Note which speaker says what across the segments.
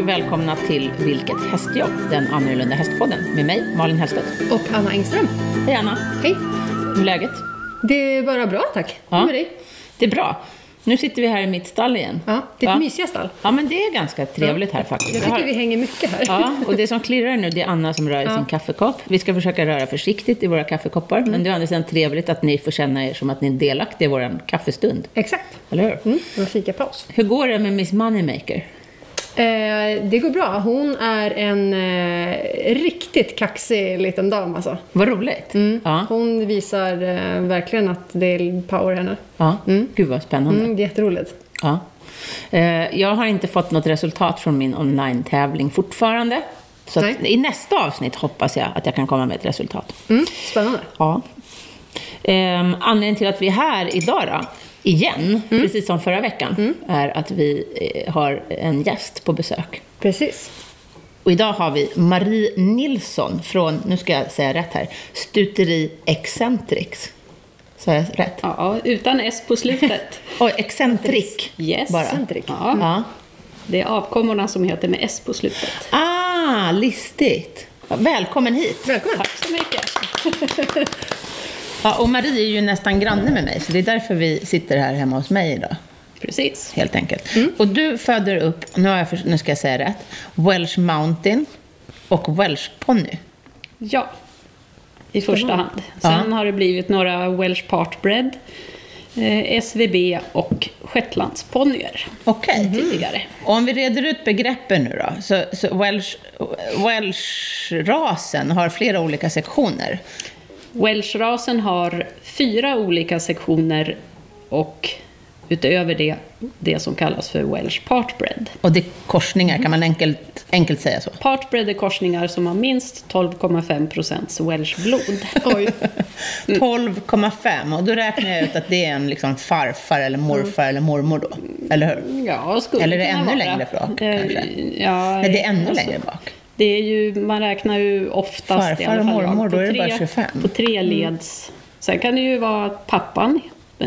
Speaker 1: välkomna till Vilket hästjobb? Den annorlunda hästpodden med mig, Malin Hellstedt.
Speaker 2: Och Anna Engström.
Speaker 1: Hej Anna,
Speaker 2: Hej.
Speaker 1: hur är läget?
Speaker 2: Det är bara bra tack. Hur är det?
Speaker 1: Det är bra. Nu sitter vi här i mitt stall igen.
Speaker 2: Ja, det är
Speaker 1: Va?
Speaker 2: ett mysiga stall.
Speaker 1: Ja, men det är ganska trevligt här faktiskt.
Speaker 2: Jag tycker vi hänger mycket här.
Speaker 1: Ja, och det som klirrar nu det är Anna som rör i sin kaffekopp. Vi ska försöka röra försiktigt i våra kaffekoppar,
Speaker 2: Mm.
Speaker 1: men det är å andra sidan trevligt att ni får känna er som att ni är delaktiga i vår kaffestund.
Speaker 2: Exakt.
Speaker 1: Eller hur?
Speaker 2: Mm, en fikapaus.
Speaker 1: Hur går det med Miss Moneymaker?
Speaker 2: Eh, det går bra. Hon är en eh, riktigt kaxig liten dam alltså.
Speaker 1: Vad roligt!
Speaker 2: Mm.
Speaker 1: Ja.
Speaker 2: Hon visar eh, verkligen att det är power henne.
Speaker 1: Ja. Gud vad spännande.
Speaker 2: Mm, det är jätteroligt.
Speaker 1: Ja. Eh, Jag har inte fått något resultat från min online-tävling fortfarande. Så att
Speaker 2: Nej.
Speaker 1: i nästa avsnitt hoppas jag att jag kan komma med ett resultat.
Speaker 2: Mm, spännande.
Speaker 1: Ja. Ehm, anledningen till att vi är här idag då, igen, precis som förra veckan, är att vi eh, har en gäst på besök.
Speaker 2: Precis.
Speaker 1: Och idag har vi Marie Nilsson från, nu ska jag säga rätt här, Stuteri Excentrix. Sa jag rätt?
Speaker 3: Ja, utan S på slutet.
Speaker 1: Oj, Excentric
Speaker 3: Yes.
Speaker 1: bara.
Speaker 2: Excentric.
Speaker 3: Ja.
Speaker 1: Ja.
Speaker 3: Det är avkommorna som heter med S på slutet.
Speaker 1: Ah, listigt. Välkommen hit.
Speaker 2: Välkommen.
Speaker 3: Tack så mycket.
Speaker 1: Ja, och Marie är ju nästan granne med mig, så det är därför vi sitter här hemma hos mig idag.
Speaker 3: Precis.
Speaker 1: Helt enkelt. Och du föder upp, nu, har jag, förs- nu ska jag säga rätt, Welsh Mountain och Welsh Pony.
Speaker 3: Ja, i första hand. Sen har det blivit några Welsh Partbred, eh, SVB och shetlandsponnyer
Speaker 1: Okej.
Speaker 3: tidigare.
Speaker 1: Och Om vi reder ut begreppen nu då. Så, så Welsh, Welsh-rasen har flera olika sektioner.
Speaker 3: Welshrasen har fyra olika sektioner och utöver det, det som kallas för Welsh Partbred.
Speaker 1: Och det är korsningar, kan man enkelt, enkelt säga så?
Speaker 3: Partbred är korsningar som har minst 12,5 Welsh blod.
Speaker 2: Oj.
Speaker 1: 12,5 och då räknar jag ut att det är en liksom farfar
Speaker 3: Mm.
Speaker 1: eller morfar eller mormor då. Eller hur?
Speaker 3: Ja, skulle
Speaker 1: Eller är det
Speaker 3: kunna
Speaker 1: ännu
Speaker 3: vara.
Speaker 1: längre bak,
Speaker 3: Eh,
Speaker 1: kanske?
Speaker 3: Ja,
Speaker 1: Nej, det är ännu
Speaker 3: alltså,
Speaker 1: längre bak.
Speaker 3: Det är ju, man räknar ju oftast
Speaker 1: Farfar
Speaker 3: i alla
Speaker 1: och
Speaker 3: fall
Speaker 1: mormor,
Speaker 3: på
Speaker 1: då är det
Speaker 3: tre-
Speaker 1: bara Mm. 25.
Speaker 3: På tre leds. Sen kan det ju vara att pappan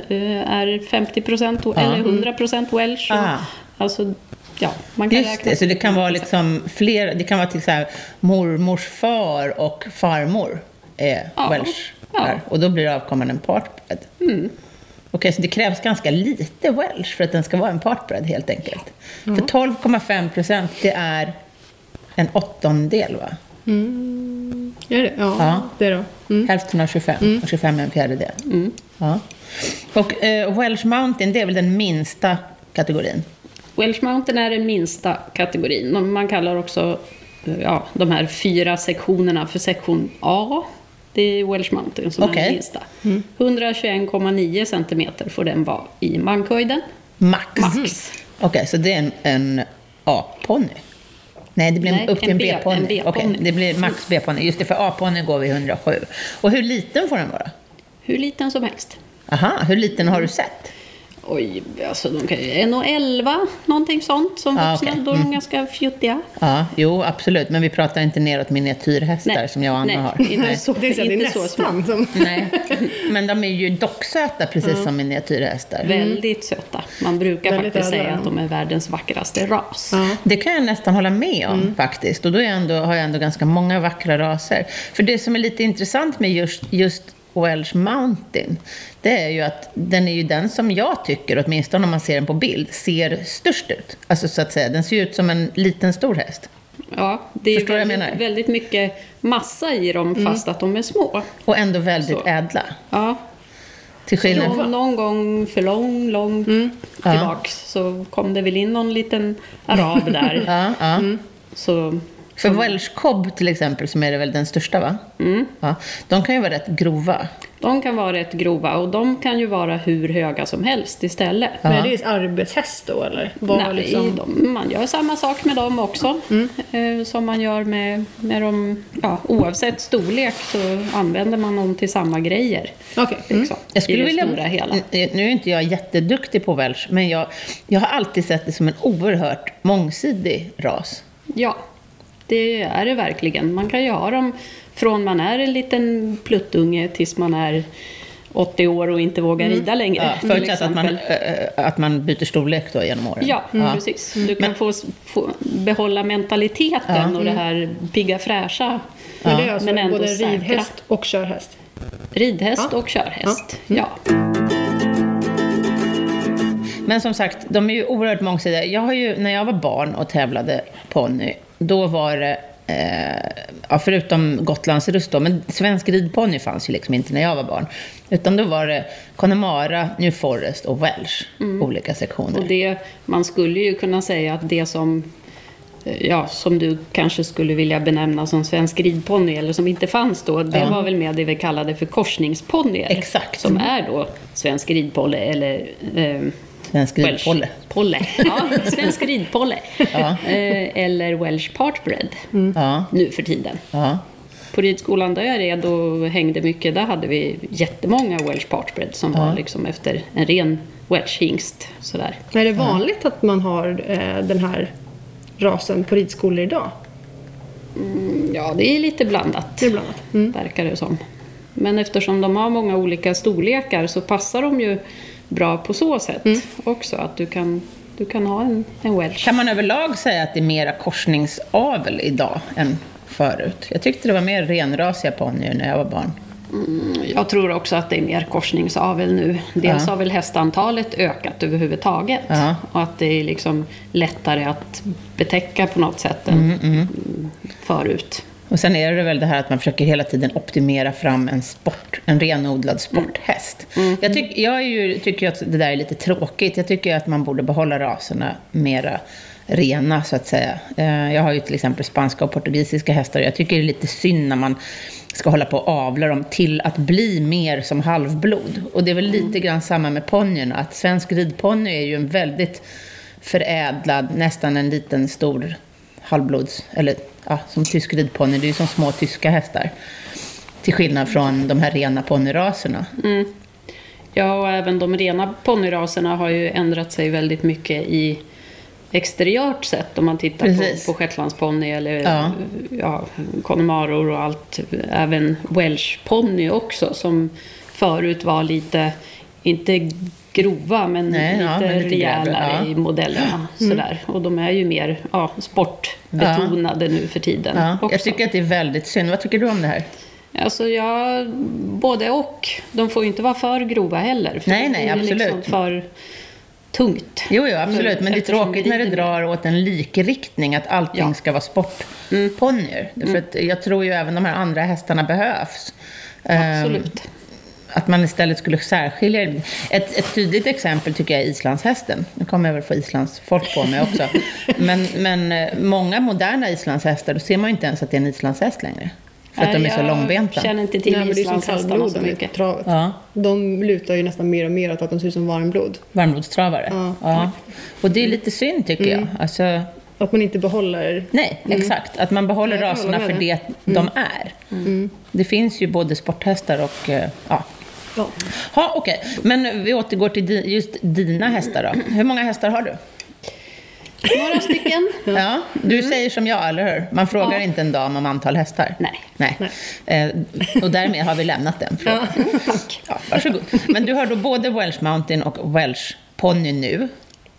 Speaker 3: eh, är 50 procent eller 100 procent welsh. och-
Speaker 1: Mm. Ah.
Speaker 3: Alltså, ja, man kan
Speaker 1: Just
Speaker 3: räkna.
Speaker 1: det, så det kan vara liksom fler, det kan vara till så här, mormors far och farmor är
Speaker 3: Ja,
Speaker 1: welsh.
Speaker 3: ja. Mm.
Speaker 1: Där. Och då blir avkomman en partbred. Okej, så det krävs ganska lite welsh för att den ska vara en partbred helt enkelt. För 12,5 procent, det är en åttondel va?
Speaker 2: Är det? Ja,
Speaker 1: Ja.
Speaker 2: det är det. Mm.
Speaker 1: Hälften av 25 och 25 är en fjärdedel.
Speaker 3: Mm.
Speaker 1: Ja. Och eh, Welsh Mountain, det är väl den minsta kategorin?
Speaker 3: Welsh Mountain är den minsta kategorin. De- Man kallar också eh, ja, de här fyra sektionerna för sektion A. Det är Welsh Mountain som är
Speaker 1: Okej.
Speaker 3: den minsta. 121,9 centimeter får den vara i mankhöjden.
Speaker 1: Max. Mm.
Speaker 3: Max.
Speaker 1: Okej, så det är en, en A-ponny? Nej, det blir
Speaker 3: Nej,
Speaker 1: upp till en
Speaker 3: en B- en
Speaker 1: B-ponny.
Speaker 3: B-ponny.
Speaker 1: Okej, det blir max B-ponny. Just det, för A-ponny går vi 107. Och hur liten får den vara?
Speaker 3: Hur liten som helst.
Speaker 1: Aha, hur liten har du sett?
Speaker 3: Oj, alltså de kan ju 1,11 någonting sånt som
Speaker 1: Ah,
Speaker 3: vuxna.
Speaker 1: okej. Mm.
Speaker 3: Då är de ganska fjuttiga.
Speaker 1: Ja, jo, absolut. Men vi pratar inte neråt miniatyrhästar som jag och Anna
Speaker 3: nej,
Speaker 1: har.
Speaker 3: Inte
Speaker 1: Nej.
Speaker 3: så,
Speaker 2: Det är, så, det är
Speaker 3: inte så små.
Speaker 2: nästan som...
Speaker 1: nej. Men de är ju docksöta, precis som miniatyrhästar.
Speaker 3: Väldigt söta. Man brukar
Speaker 2: Väldigt
Speaker 3: faktiskt
Speaker 2: ädla,
Speaker 3: säga att
Speaker 2: ja.
Speaker 3: de är världens vackraste ras.
Speaker 2: Ja.
Speaker 1: Det kan jag nästan hålla med om faktiskt. Och då är jag ändå, har jag ändå ganska många vackra raser. För det som är lite intressant med just, just Welsh Mountain, det är ju att den är ju den som jag tycker, åtminstone om man ser den på bild, ser störst ut. Alltså så att säga, den ser ju ut som en liten stor häst.
Speaker 3: Ja, det är
Speaker 1: Förstår vad jag
Speaker 3: väldigt,
Speaker 1: menar?
Speaker 3: väldigt mycket massa i dem
Speaker 2: Mm.
Speaker 3: fast att de är små.
Speaker 1: Och ändå väldigt
Speaker 3: Så.
Speaker 1: ädla.
Speaker 3: Ja.
Speaker 1: Till skillnad
Speaker 3: Någon, någon gång för lång, lång
Speaker 1: Mm.
Speaker 3: tillbaks så kom det väl in någon liten arab där.
Speaker 1: Ja, ja.
Speaker 3: Så
Speaker 1: För Welsh Cobb till exempel, som är väl den största va? Ja. De kan ju vara rätt grova.
Speaker 3: de kan vara rätt grova och de kan ju vara hur höga som helst istället.
Speaker 2: Men är det arbetshäst då eller? Vad
Speaker 3: Nej,
Speaker 2: liksom-
Speaker 3: de, man gör samma sak med dem också.
Speaker 1: Mm.
Speaker 3: Eh, som man gör med, med dem, ja, oavsett storlek så använder man dem till samma grejer.
Speaker 2: Okej. Mm.
Speaker 3: Liksom,
Speaker 1: Jag skulle
Speaker 3: I det
Speaker 1: vilja,
Speaker 3: stora hela.
Speaker 1: N- Nu är inte jag jätteduktig på welsh, men jag, jag har alltid sett det som en oerhört mångsidig ras.
Speaker 3: Ja, det är det verkligen. Man kan ju ha dem från man är en liten pluttunge tills man är 80 år och inte vågar rida längre.
Speaker 1: Mm. Ja,
Speaker 3: till
Speaker 1: förutsatt att man,
Speaker 3: Mm, exempel.
Speaker 1: eh, att man byter storlek då genom åren.
Speaker 3: Ja, mm, precis. Du kan
Speaker 1: Mm. Men-
Speaker 3: få, få behålla mentaliteten och det här pigga fräscha.
Speaker 2: Men det är alltså
Speaker 3: Men ändå
Speaker 2: både
Speaker 3: säkra.
Speaker 2: ridhäst och körhäst.
Speaker 3: Ridhäst
Speaker 2: Ja.
Speaker 3: och körhäst.
Speaker 2: Ja. Mm.
Speaker 3: Ja.
Speaker 1: Men som sagt, de är ju oerhört mångsidiga. Jag har ju, när jag var barn och tävlade ponny, då var det Eh, ja, förutom Gotlandsruss då, men svensk ridponny fanns ju liksom inte när jag var barn. Utan då var det Connemara, New Forest och Welsh, olika sektioner.
Speaker 3: Mm. Och det, man skulle ju kunna säga att det som, eh, ja, som du kanske skulle vilja benämna som svensk ridponny, eller som inte fanns då, det
Speaker 1: Ja.
Speaker 3: var väl med det vi kallade för korsningsponnyer.
Speaker 1: Exakt.
Speaker 3: Som är då svensk ridpolle eller eh,
Speaker 1: Svensk
Speaker 3: Welsh-
Speaker 1: ridpolle.
Speaker 3: Polle. Ja, svensk ridpolle.
Speaker 1: Ja. Mm.
Speaker 3: Eh, Eller Welsh partbred
Speaker 1: Ja,
Speaker 3: nu för tiden.
Speaker 1: ja.
Speaker 3: På ridskolan där jag red och hängde mycket, där hade vi jättemånga Welsh partbred som var liksom efter en ren Welsh hingst. Sådär.
Speaker 2: Men Är det vanligt att man har eh, den här rasen på ridskolor idag?
Speaker 3: Ja, det är lite blandat. Mm.
Speaker 2: Det är blandat.
Speaker 3: Verkar det som. Men eftersom de har många olika storlekar så passar de ju bra på så sätt också. Att du kan, du kan ha en, en Welsh.
Speaker 1: Kan man överlag säga att det är mera korsningsavel idag än förut? Jag tyckte det var mer renrasiga ponnyer när jag var barn.
Speaker 3: Jag tror också att det är mer korsningsavel nu. Dels
Speaker 1: Ja.
Speaker 3: har väl hästantalet ökat överhuvudtaget.
Speaker 1: Ja.
Speaker 3: Och att det är liksom lättare att betäcka på något sätt än mm, förut.
Speaker 1: Och sen är det väl det här att man försöker hela tiden optimera fram en sport, en renodlad sporthäst. Jag, tyck, jag är ju, tycker ju att det där är lite tråkigt. Jag tycker ju att man borde behålla raserna mera rena, så att säga. Eh, Jag har ju till exempel spanska och portugisiska hästar. Jag tycker det är lite synd när man ska hålla på och avla dem till att bli mer som halvblod. Och det är väl lite grann samma med ponnyerna. Att svensk ridponny är ju en väldigt förädlad, nästan en liten stor halvblods, eller ja, som tysk ridponny, det är ju som små tyska hästar. Till skillnad från de här rena ponnyraserna.
Speaker 3: Mm, Ja, och även de rena ponnyraserna har ju ändrat sig väldigt mycket i exteriört sett. Om man tittar
Speaker 1: Precis.
Speaker 3: på, på shetlandsponny eller
Speaker 1: Ja.
Speaker 3: ja. connemaror och allt. Även welshponny också som förut var lite, inte grova, men
Speaker 1: Nej,
Speaker 3: lite
Speaker 1: ja, men lite
Speaker 3: rejälare
Speaker 1: grövre, ja. Mm.
Speaker 3: i modellerna. Sådär. Och de är ju mer ja, sportbetonade nu för tiden.
Speaker 1: Ja,
Speaker 3: också.
Speaker 1: jag tycker att det är väldigt synd. Vad tycker du om det här?
Speaker 3: Alltså jag, både och. De får ju inte vara för grova heller. För
Speaker 1: Nej,
Speaker 3: det
Speaker 1: nej,
Speaker 3: blir
Speaker 1: absolut.
Speaker 3: Liksom för tungt.
Speaker 1: Jo, jo, absolut. Men det är
Speaker 3: Mm, Eftersom
Speaker 1: tråkigt när det
Speaker 3: rider-
Speaker 1: drar åt en likriktning, att allting
Speaker 3: Ja. Mm.
Speaker 1: ska vara sportponnyer. För att jag tror ju även de här andra hästarna behövs. Ehm,
Speaker 3: Absolut.
Speaker 1: Att man istället skulle särskilja ett, ett tydligt exempel tycker jag är islandshästen. Nu kommer jag väl få islandsfolk på mig också. Men, men eh, många moderna islandshästar, då ser man ju inte ens att det är en islandshäst längre. För att de är så
Speaker 3: jag
Speaker 1: långbenta.
Speaker 3: känner inte
Speaker 2: Nej,
Speaker 3: till
Speaker 2: men det är som
Speaker 3: islandshästarna så
Speaker 2: kallbloden i
Speaker 3: mycket.
Speaker 2: travet.
Speaker 1: Ja,
Speaker 2: De lutar ju nästan mer och mer åt att de ser ut som varmblod.
Speaker 1: varmblodstravare.
Speaker 2: Ja. Mm.
Speaker 1: Och det är lite synd tycker jag. Alltså,
Speaker 2: Att man inte behåller...
Speaker 1: nej, exakt. Att man behåller
Speaker 2: Mm. Jag kan
Speaker 1: raserna
Speaker 2: hålla
Speaker 1: för
Speaker 2: med Mm.
Speaker 1: det de är. Det finns ju både sporthästar och eh, ja,
Speaker 2: Ja.
Speaker 1: Ha, okej. Men vi återgår till di- just dina hästar då. Hur många hästar har du?
Speaker 3: Några stycken.
Speaker 1: Ja, du säger som jag, eller hur? Man frågar
Speaker 3: Mm. Ja.
Speaker 1: inte en dam om antal hästar.
Speaker 3: Nej. Mm,
Speaker 1: Nej. Eh, och därmed har vi lämnat den frågan. Ja, varsågod. Men du har då både Welsh Mountain och Welsh Pony nu.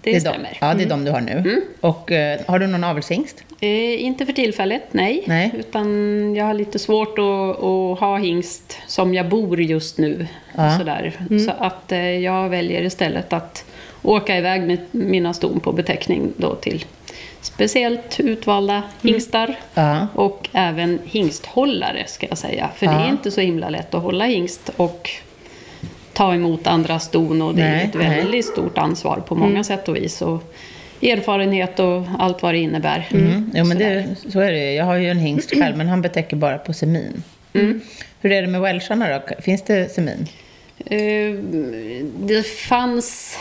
Speaker 3: Det
Speaker 1: är De,
Speaker 3: stämmer. Mm.
Speaker 1: ja, det är de du har nu. Och eh, har du någon avelshingst?
Speaker 3: Eh, inte för tillfället, nej.
Speaker 1: Nej.
Speaker 3: Utan jag har lite svårt att, att ha hingst som jag bor just nu.
Speaker 1: Ja. Mm.
Speaker 3: Sådär. Så att eh, jag väljer istället att åka iväg med mina ston på beteckning då till speciellt utvalda hingstar.
Speaker 1: Mm. Ja.
Speaker 3: Och även hingsthållare ska jag säga. För det
Speaker 1: Ja.
Speaker 3: är inte så himla lätt att hålla hingst och ta emot andra ston och det
Speaker 1: Nej,
Speaker 3: är ett
Speaker 1: nej.
Speaker 3: väldigt väldigt stort ansvar på många
Speaker 1: Mm.
Speaker 3: sätt och vis. Och erfarenhet och allt vad det innebär.
Speaker 1: Mm. Jo, men
Speaker 3: Sådär.
Speaker 1: det, så är det ju. Jag har ju en hingst själv, men han betäcker bara på semin.
Speaker 3: Mm.
Speaker 1: Hur är det med welsharna då? Finns det semin?
Speaker 3: Eh, det fanns,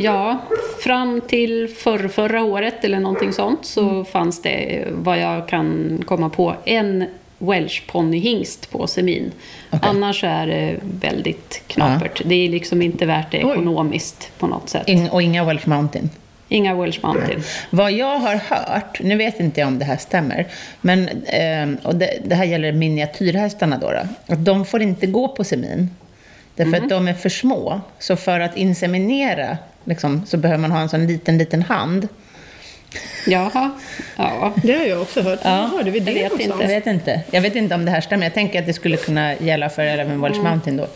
Speaker 3: ja, fram till förr, förra året eller någonting sånt så
Speaker 1: Mm.
Speaker 3: fanns det, eh, vad jag kan komma på, en welsh ponnyhingst på semin.
Speaker 1: Okej.
Speaker 3: Annars så är det väldigt knapert. Det är liksom inte värt det
Speaker 2: Oj.
Speaker 3: ekonomiskt på något sätt.
Speaker 1: In, och inga Welsh Mountain?
Speaker 3: Inga welsh mountain.
Speaker 1: Vad jag har hört, nu vet inte jag om det här stämmer, men ehm, eh, och det, det här gäller miniatyrhästarna då, då, att de får inte gå på semin. Därför
Speaker 3: Mm.
Speaker 1: att de är för små. Så för att inseminera liksom, så behöver man ha en sån liten, liten hand.
Speaker 3: Jaha. Ja.
Speaker 2: Det har jag också hört. Ja, hörde vi det
Speaker 3: jag vet
Speaker 2: någonstans?
Speaker 1: Jag
Speaker 3: inte.
Speaker 1: vet inte. Jag vet inte om det här stämmer. Jag tänker att det skulle kunna gälla för även Welsh
Speaker 3: Mm.
Speaker 1: Mountain då.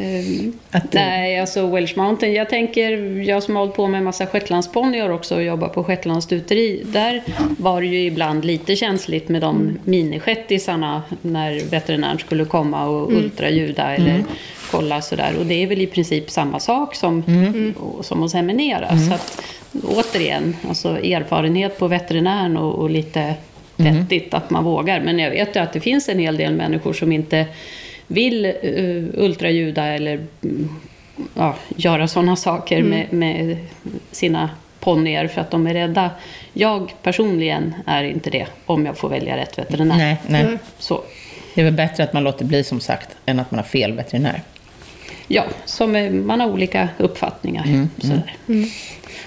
Speaker 3: Ehm,
Speaker 1: Att, eh,
Speaker 3: Nej, alltså Welsh Mountain. Jag tänker, jag som har hållit på med en massa shetlandsponnyer också och jobbar på shetlandsstuteri. Där var det ju ibland lite känsligt med de minishettisarna när veterinären skulle komma och ultraljuda eller kolla sådär. Och det är väl i princip samma sak som, och- som att seminera. Så att, återigen, alltså erfarenhet på veterinären och, och lite vettigt att man vågar. Men jag vet ju att det finns en hel del människor som inte vill eh, ultraljuda eller mm, ja, göra sådana saker med, med sina ponnyer för att de är rädda. Jag personligen är inte det, om jag får välja rätt veterinär.
Speaker 1: nej, nej.
Speaker 3: Mm.
Speaker 2: Nej.
Speaker 3: Så,
Speaker 1: Det är väl bättre att man låter bli som sagt, än att man har fel veterinär.
Speaker 3: ja, som är, man har olika uppfattningar.
Speaker 1: Mm,
Speaker 3: Sådär.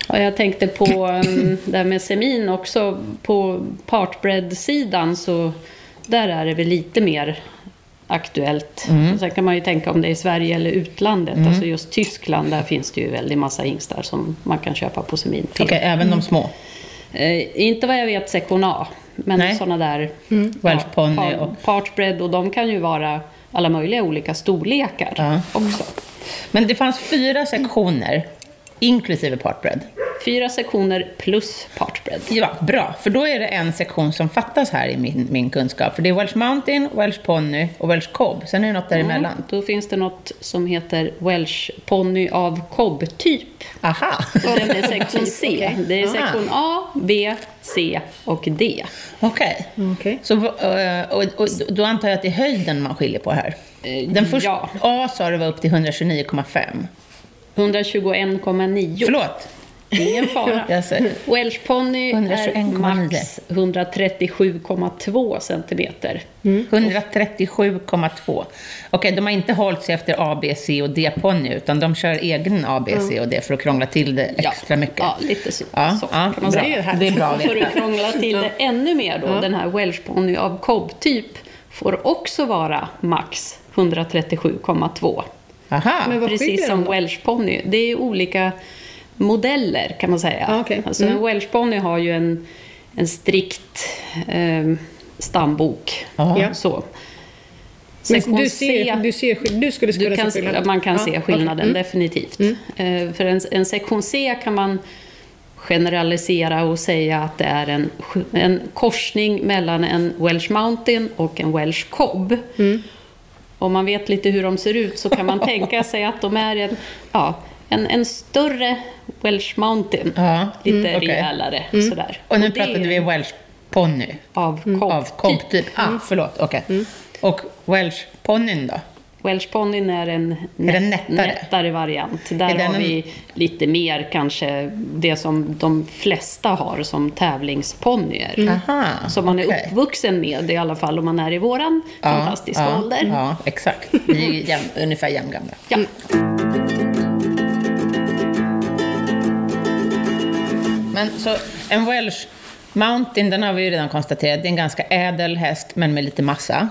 Speaker 3: Och jag tänkte på mm, det här med semin också. På partbred-sidan så där är det väl lite mer aktuellt. Mm. Sen kan man ju tänka om det är i Sverige eller utlandet.
Speaker 1: Mm.
Speaker 3: Alltså just Tyskland, där finns det ju väldigt massa hingstar som man kan köpa på semin till. Mm.
Speaker 1: Okej, även de små.
Speaker 3: Eh, inte vad jag vet sektion A,
Speaker 1: Nej.
Speaker 3: men sådana där
Speaker 1: Welsh ponny och-
Speaker 3: partbred och de kan ju vara alla möjliga olika storlekar
Speaker 1: Ja.
Speaker 3: också.
Speaker 1: Men det fanns fyra sektioner, inklusive partbred.
Speaker 3: Fyra sektioner plus partbred.
Speaker 1: Ja, bra. För då är det en sektion som fattas här i min, min kunskap. För det är Welsh Mountain, Welsh Pony och Welsh Cobb. Sen är det något däremellan.
Speaker 3: Mm. Då finns det något som heter Welsh ponny av cobb-typ.
Speaker 1: Aha!
Speaker 3: Och Den är sektion C.
Speaker 2: Okej.
Speaker 3: Det är
Speaker 1: Ah.
Speaker 3: sektion A, B, C och D.
Speaker 1: Okej.
Speaker 2: Okej.
Speaker 1: Så, eh, och, och då antar jag att det är höjden man skiljer på här.
Speaker 3: Eh,
Speaker 1: Den första
Speaker 3: ja.
Speaker 1: A sa du var upp till 129,5.
Speaker 3: 121,9.
Speaker 1: Förlåt,
Speaker 3: Ingen fara.
Speaker 1: jag säger.
Speaker 3: Welsh ponny är
Speaker 1: 121,9.
Speaker 3: max 137,2 centimeter.
Speaker 1: 137,2. Okej, de har inte hållit sig efter A, B, C och D-ponny, utan de kör egen A, B, C och D för att krångla till det extra mycket.
Speaker 3: Mm. Ja, lite så.
Speaker 1: Ja,
Speaker 3: så
Speaker 1: ja,
Speaker 3: kan man
Speaker 1: bra.
Speaker 2: säga. Det är ju härligt.
Speaker 1: Det är bra att
Speaker 3: För
Speaker 1: veta.
Speaker 3: att krångla till det ännu mer då, den här Welsh ponny av cobb-typ får också vara max 137,2.
Speaker 1: Aha.
Speaker 2: Men vad skiljer
Speaker 3: Precis
Speaker 2: de
Speaker 3: som
Speaker 2: då?
Speaker 3: Welsh ponny. Det är ju olika modeller kan man säga.
Speaker 2: Ah, okej.
Speaker 3: Alltså, En Welsh ponny har ju en, en strikt eh, stambok.
Speaker 1: Ja.
Speaker 2: Ja.
Speaker 3: Så.
Speaker 2: Men
Speaker 3: Sektion
Speaker 2: du, ser,
Speaker 3: C-
Speaker 2: du, ser, du skulle
Speaker 3: du
Speaker 2: skulle
Speaker 3: kan,
Speaker 2: se skillnaden?
Speaker 3: man kan
Speaker 2: Ja,
Speaker 3: se
Speaker 2: okej.
Speaker 3: skillnaden,
Speaker 1: Mm.
Speaker 3: definitivt. Eh, För en, en sektion C kan man generalisera och säga att det är en, sk- en korsning mellan en Welsh Mountain och en Welsh Cobb.
Speaker 1: Mm.
Speaker 3: Om man vet lite hur de ser ut så kan man tänka sig att de är en, ja, en, en större Welsh Mountain.
Speaker 1: Ja, Mm,
Speaker 3: Lite
Speaker 1: okej.
Speaker 3: rejälare sådär.
Speaker 1: Och nu
Speaker 3: det
Speaker 1: pratade
Speaker 3: är
Speaker 1: vi Welsh ponny.
Speaker 3: av Cobb.
Speaker 1: Av komp typ. Ah, förlåt. Okej. Och Welsh ponnyn då?
Speaker 3: Welsh ponnyn är en nät,
Speaker 1: den nättare?
Speaker 3: nättare? variant. Där
Speaker 1: Är den
Speaker 3: har
Speaker 1: en-
Speaker 3: vi lite mer kanske det som de flesta har som tävlingsponnyer.
Speaker 1: Aha,
Speaker 3: Som man är
Speaker 1: Mm. okej.
Speaker 3: uppvuxen med i alla fall om man är i våran fantastiska
Speaker 1: ja,
Speaker 3: ålder.
Speaker 1: Ja, exakt. Vi är ju jäm, ungefär jämngamla.
Speaker 3: Ja.
Speaker 1: Men så en Welsh Mountain, den har vi ju redan konstaterat, det är en ganska ädel häst men med lite massa.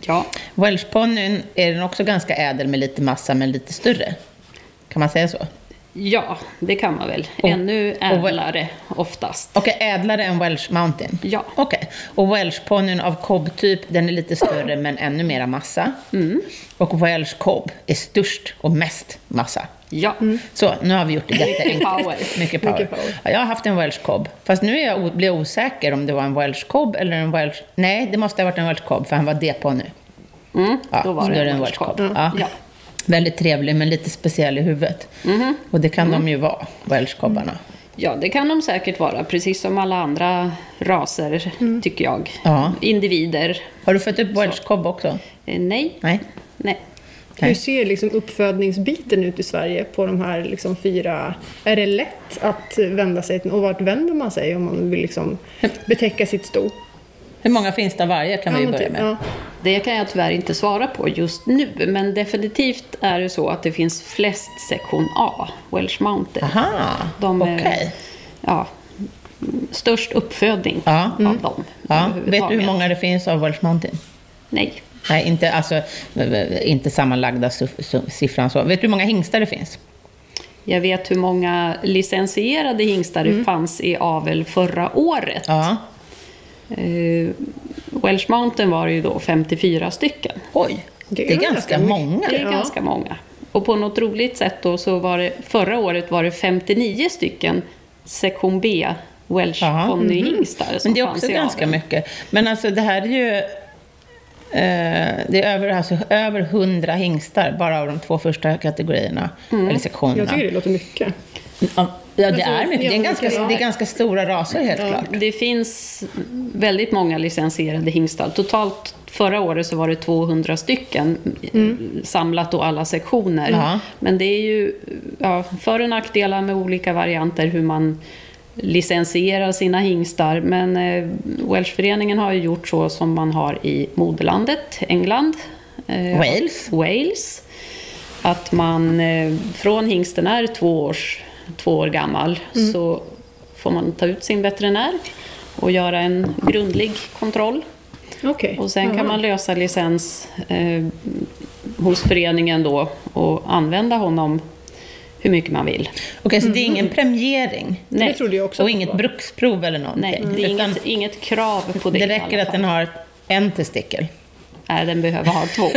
Speaker 3: ja,
Speaker 1: Welshponnyn är den också ganska ädel med lite massa men lite större. Kan man säga så?
Speaker 3: ja, det kan man väl.
Speaker 1: Och-
Speaker 3: Ännu
Speaker 1: och Wel-
Speaker 3: ädlare oftast.
Speaker 1: Okej, ädlare än Welsh Mountain?
Speaker 3: Ja.
Speaker 1: Okej. Och Welshponnyn av cobb-typ, den är lite större men ännu mera massa.
Speaker 3: Mm.
Speaker 1: Och Welsh cobb är störst och mest massa.
Speaker 3: Ja,
Speaker 1: Så, nu har vi gjort det jätteenkelt.
Speaker 3: power.
Speaker 1: Mycket power.
Speaker 2: Mycket power.
Speaker 1: Ja, jag har haft en Welsh Cobb. Fast nu är jag, o- blir jag osäker om det var en Welsh Cobb eller en Welsh... Nej, det måste ha varit en Welsh Cobb, för han var D-ponny.
Speaker 3: mm,
Speaker 1: Ja,
Speaker 3: då var
Speaker 1: så
Speaker 3: det
Speaker 1: då är
Speaker 3: en Welsh Cobb.
Speaker 1: Ja.
Speaker 3: Ja.
Speaker 1: Väldigt trevlig, men lite speciell i huvudet.
Speaker 3: Mhm.
Speaker 1: Och det kan
Speaker 3: Mm.
Speaker 1: de ju vara, Welsh Cobbarna.
Speaker 3: Ja, det kan de säkert vara, precis som alla andra raser, tycker jag.
Speaker 1: Ja.
Speaker 3: Individer.
Speaker 1: Har du fått upp Welsh Cobb också?
Speaker 3: Eh, Nej.
Speaker 1: Nej.
Speaker 3: Nej.
Speaker 2: Hur ser liksom uppfödningsbiten ut i Sverige på de här liksom fyra... Är det lätt att vända sig till, och vart vänder man sig om man vill liksom betäcka sitt sto?
Speaker 1: Hur många finns det av varje kan vi ju
Speaker 2: men
Speaker 1: börja
Speaker 2: typ,
Speaker 1: med.
Speaker 2: ja.
Speaker 3: Det kan jag tyvärr inte svara på just nu, men definitivt är det så att det finns flest sektion A, Welsh Mountain.
Speaker 1: Aha,
Speaker 3: De
Speaker 1: okej.
Speaker 3: är ja, mm, störst uppfödning
Speaker 1: Ja. Mm.
Speaker 3: av dem.
Speaker 1: Ja. Vet du
Speaker 3: överhuvudtaget.
Speaker 1: hur många det finns av Welsh Mountain?
Speaker 3: Nej.
Speaker 1: Nej, inte, alltså, inte sammanlagda siffran så. Vet du hur många hingstar det finns?
Speaker 3: Jag vet hur många licensierade hingstar det fanns i avel förra året.
Speaker 1: Mm. Ja.
Speaker 3: Eh, Welsh Mountain var det ju då 54 stycken.
Speaker 1: Oj, det är, ganska,
Speaker 2: mycket.
Speaker 1: många.
Speaker 3: Det är
Speaker 2: Ja.
Speaker 3: ganska många. Och på något roligt sätt då så var det förra året var det 59 stycken sektion B Welsh
Speaker 1: Jaha.
Speaker 3: ponnyhingstar
Speaker 1: Mm-hmm. Men
Speaker 3: som
Speaker 1: det är
Speaker 3: fanns
Speaker 1: också
Speaker 3: i
Speaker 1: ganska
Speaker 3: aveln.
Speaker 1: mycket. Men alltså det här är ju... Eh, det är över, alltså, över 100 hingstar bara av de två första kategorierna, eller sektionerna.
Speaker 2: Jag tycker det låter mycket.
Speaker 1: Ja, ja, det
Speaker 2: Jag
Speaker 1: är
Speaker 2: tror-
Speaker 1: mycket. Det är,
Speaker 2: ja,
Speaker 1: ganska,
Speaker 2: mycket, ja.
Speaker 1: det är ganska stora raser helt klart.
Speaker 3: Det finns väldigt många licensierade hingstar. Totalt förra året så var det 200 stycken eh, samlat då alla sektioner.
Speaker 1: Ja.
Speaker 3: Men det är ju ja, för och nackdelar med olika varianter hur man licensierar sina hingstar. Men eh, Welshföreningen har ju gjort så som man har i moderlandet, England. eh,
Speaker 1: Wales.
Speaker 3: Wales. Att man eh, från hingsten är två, års, två år gammal
Speaker 1: Mm.
Speaker 3: så får man ta ut sin veterinär och göra en grundlig kontroll.
Speaker 2: Okej.
Speaker 3: Och sen
Speaker 2: Ja.
Speaker 3: kan man lösa licens eh, hos föreningen då och använda honom hur mycket man vill.
Speaker 1: Okej, så det är ingen premiering?
Speaker 2: Det trodde jag också.
Speaker 1: Och
Speaker 2: att det
Speaker 1: inget
Speaker 2: var.
Speaker 1: bruksprov eller någonting?
Speaker 3: Nej, det är
Speaker 1: Utan
Speaker 3: inget, inget krav på det.
Speaker 1: Mm. det
Speaker 3: i
Speaker 1: räcker
Speaker 3: alla
Speaker 1: att
Speaker 3: fall.
Speaker 1: den har en testikel?
Speaker 3: Nej, den behöver ha två.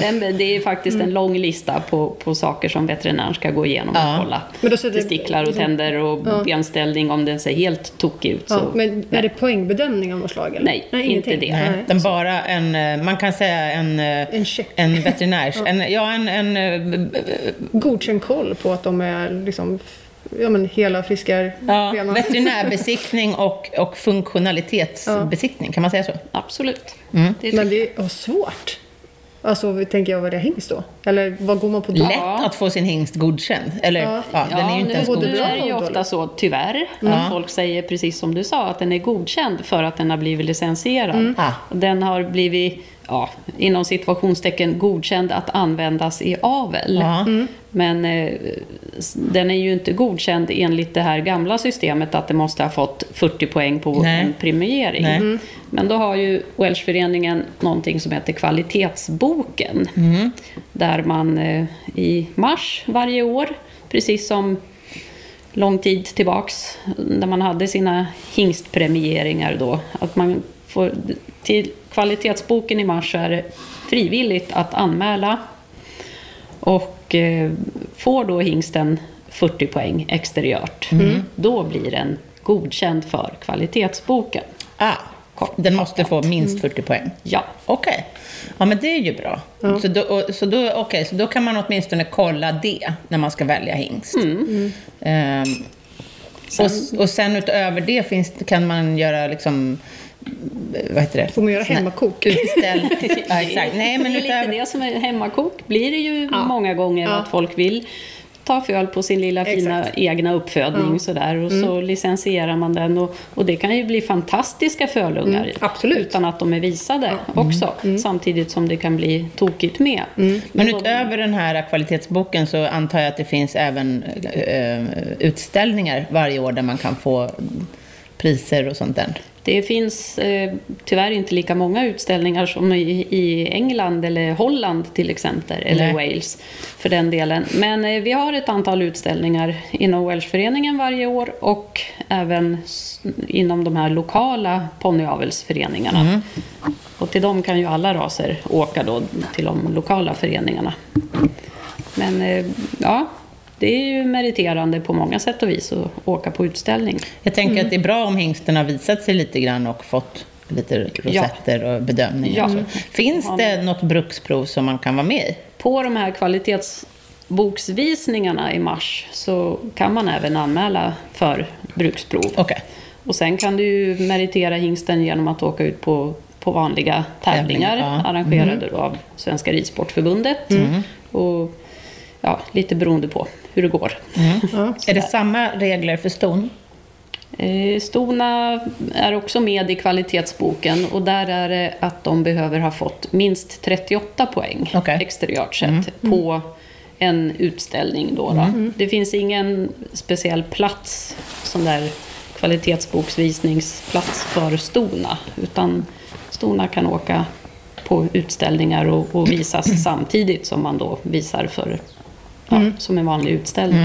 Speaker 3: den, be- det är faktiskt
Speaker 2: Mm.
Speaker 3: en lång lista på, på saker som veterinären ska gå igenom
Speaker 1: Ja.
Speaker 3: och kolla.
Speaker 2: Men då sätter-
Speaker 3: Testiklar och tänder och benställning om den ser helt tokig ut.
Speaker 2: Ja,
Speaker 3: så.
Speaker 2: men är det poängbedömning av något slag? Eller?
Speaker 3: Nej, inte
Speaker 2: ingenting.
Speaker 3: det.
Speaker 1: Nej,
Speaker 2: Nej.
Speaker 1: utan Mm. bara en, eh, man kan säga en, eh,
Speaker 2: En check.
Speaker 1: en veterinärs... en, ja, en, en, eh, b- b-
Speaker 2: Godkänd koll på att de är liksom, f- ja, men hela
Speaker 1: ja,
Speaker 2: friskarscheman.
Speaker 1: veterinärbesiktning och, och funktionalitetsbesiktning, kan man säga så?
Speaker 3: Absolut. Det
Speaker 2: men det är ja, svårt. Alltså, tänker jag vad det är hingst då? Eller vad går man på då?
Speaker 1: Lätt att få sin hingst godkänd, eller ja,
Speaker 2: Ja.
Speaker 1: den är ju inte
Speaker 3: nu,
Speaker 1: ens
Speaker 2: både
Speaker 1: godkänd.
Speaker 3: nu
Speaker 2: bra
Speaker 3: är det ju
Speaker 2: och
Speaker 3: ofta
Speaker 2: dålig.
Speaker 3: så, tyvärr, att folk säger precis som du sa, att den är godkänd för att den har blivit licensierad.
Speaker 1: Ah.
Speaker 3: Och Den har blivit, ja, inom situationstecken godkänd att användas i avel.
Speaker 1: Ja.
Speaker 3: Men eh, s- den är ju inte godkänd enligt det här gamla systemet att det måste ha fått 40 poäng på
Speaker 1: Nej.
Speaker 3: en premiering.
Speaker 1: Nej.
Speaker 3: Men då har ju Welshföreningen någonting som heter Kvalitetsboken. Där man eh, i mars varje år, precis som lång tid tillbaks, när man hade sina hingstpremieringar då, att man får, till kvalitetsboken i mars så är det frivilligt att anmäla och eh, får då hingsten 40 poäng exteriört, då blir den godkänd för kvalitetsboken.
Speaker 1: Ah, den måste få
Speaker 2: Mm.
Speaker 1: minst 40 poäng.
Speaker 3: Ja,
Speaker 1: Okej. Ja, men det är ju bra. Så, då, och, så, då, okej, så då kan man åtminstone kolla det när man ska välja hingst. Ehm, och, s- och sen utöver det finns, kan man göra liksom... eh, Vad heter det?
Speaker 2: Får man göra
Speaker 1: Såna-
Speaker 2: hemmakok?
Speaker 1: Utställ... ja, exakt. Nej, men
Speaker 3: det är lite
Speaker 1: utöver...
Speaker 3: det som är hemmakok, blir det ju många gånger att folk vill ta föl på sin lilla fina
Speaker 2: Exakt.
Speaker 3: egna uppfödning sådär, och
Speaker 1: Mm.
Speaker 3: så licensierar man den och, och det kan ju bli fantastiska fölungar
Speaker 1: Mm,
Speaker 2: absolut.
Speaker 3: utan att de är visade också, samtidigt som det kan bli tokigt med.
Speaker 1: Men utöver den här kvalitetsboken så antar jag att det finns även eh, utställningar varje år där man kan få priser och sånt där.
Speaker 3: Det finns eh, tyvärr inte lika många utställningar som i, i England eller Holland till exempel, eller
Speaker 1: Nej.
Speaker 3: Wales för den delen. Men eh, vi har ett antal utställningar inom Welshföreningen varje år och även s- inom de här lokala ponnyavelsföreningarna. Och till dem kan ju alla raser åka då, till de lokala föreningarna. Men eh, ja, det är ju meriterande på många sätt och vis att åka på utställning.
Speaker 1: Jag tänker
Speaker 2: Mm.
Speaker 1: att det är bra om hingsten har visat sig lite grann och fått lite rosetter och bedömningar.
Speaker 3: Ja.
Speaker 1: och så.
Speaker 2: Mm.
Speaker 1: Finns det något bruksprov som man kan vara med i?
Speaker 3: På de här kvalitetsboksvisningarna i mars så kan man även anmäla för bruksprov.
Speaker 1: Okej.
Speaker 3: Och sen kan du ju meritera hingsten genom att åka ut på, på vanliga tävlingar
Speaker 1: Tävlingar, ja. Mm.
Speaker 3: arrangerade då av Svenska Ridsportförbundet. Och, ja, lite beroende på hur det går.
Speaker 2: Ja.
Speaker 1: Är det samma regler för ston?
Speaker 3: Eh, Stona är också med i kvalitetsboken och där är det att de behöver ha fått minst 38 poäng
Speaker 1: Okej.
Speaker 3: exteriört sett på en utställning. Då, då. Det finns ingen speciell plats, sån där kvalitetsboksvisningsplats för Stona, utan Stona kan åka på utställningar och, och visas samtidigt som man då visar för, ja, som en vanlig utställning.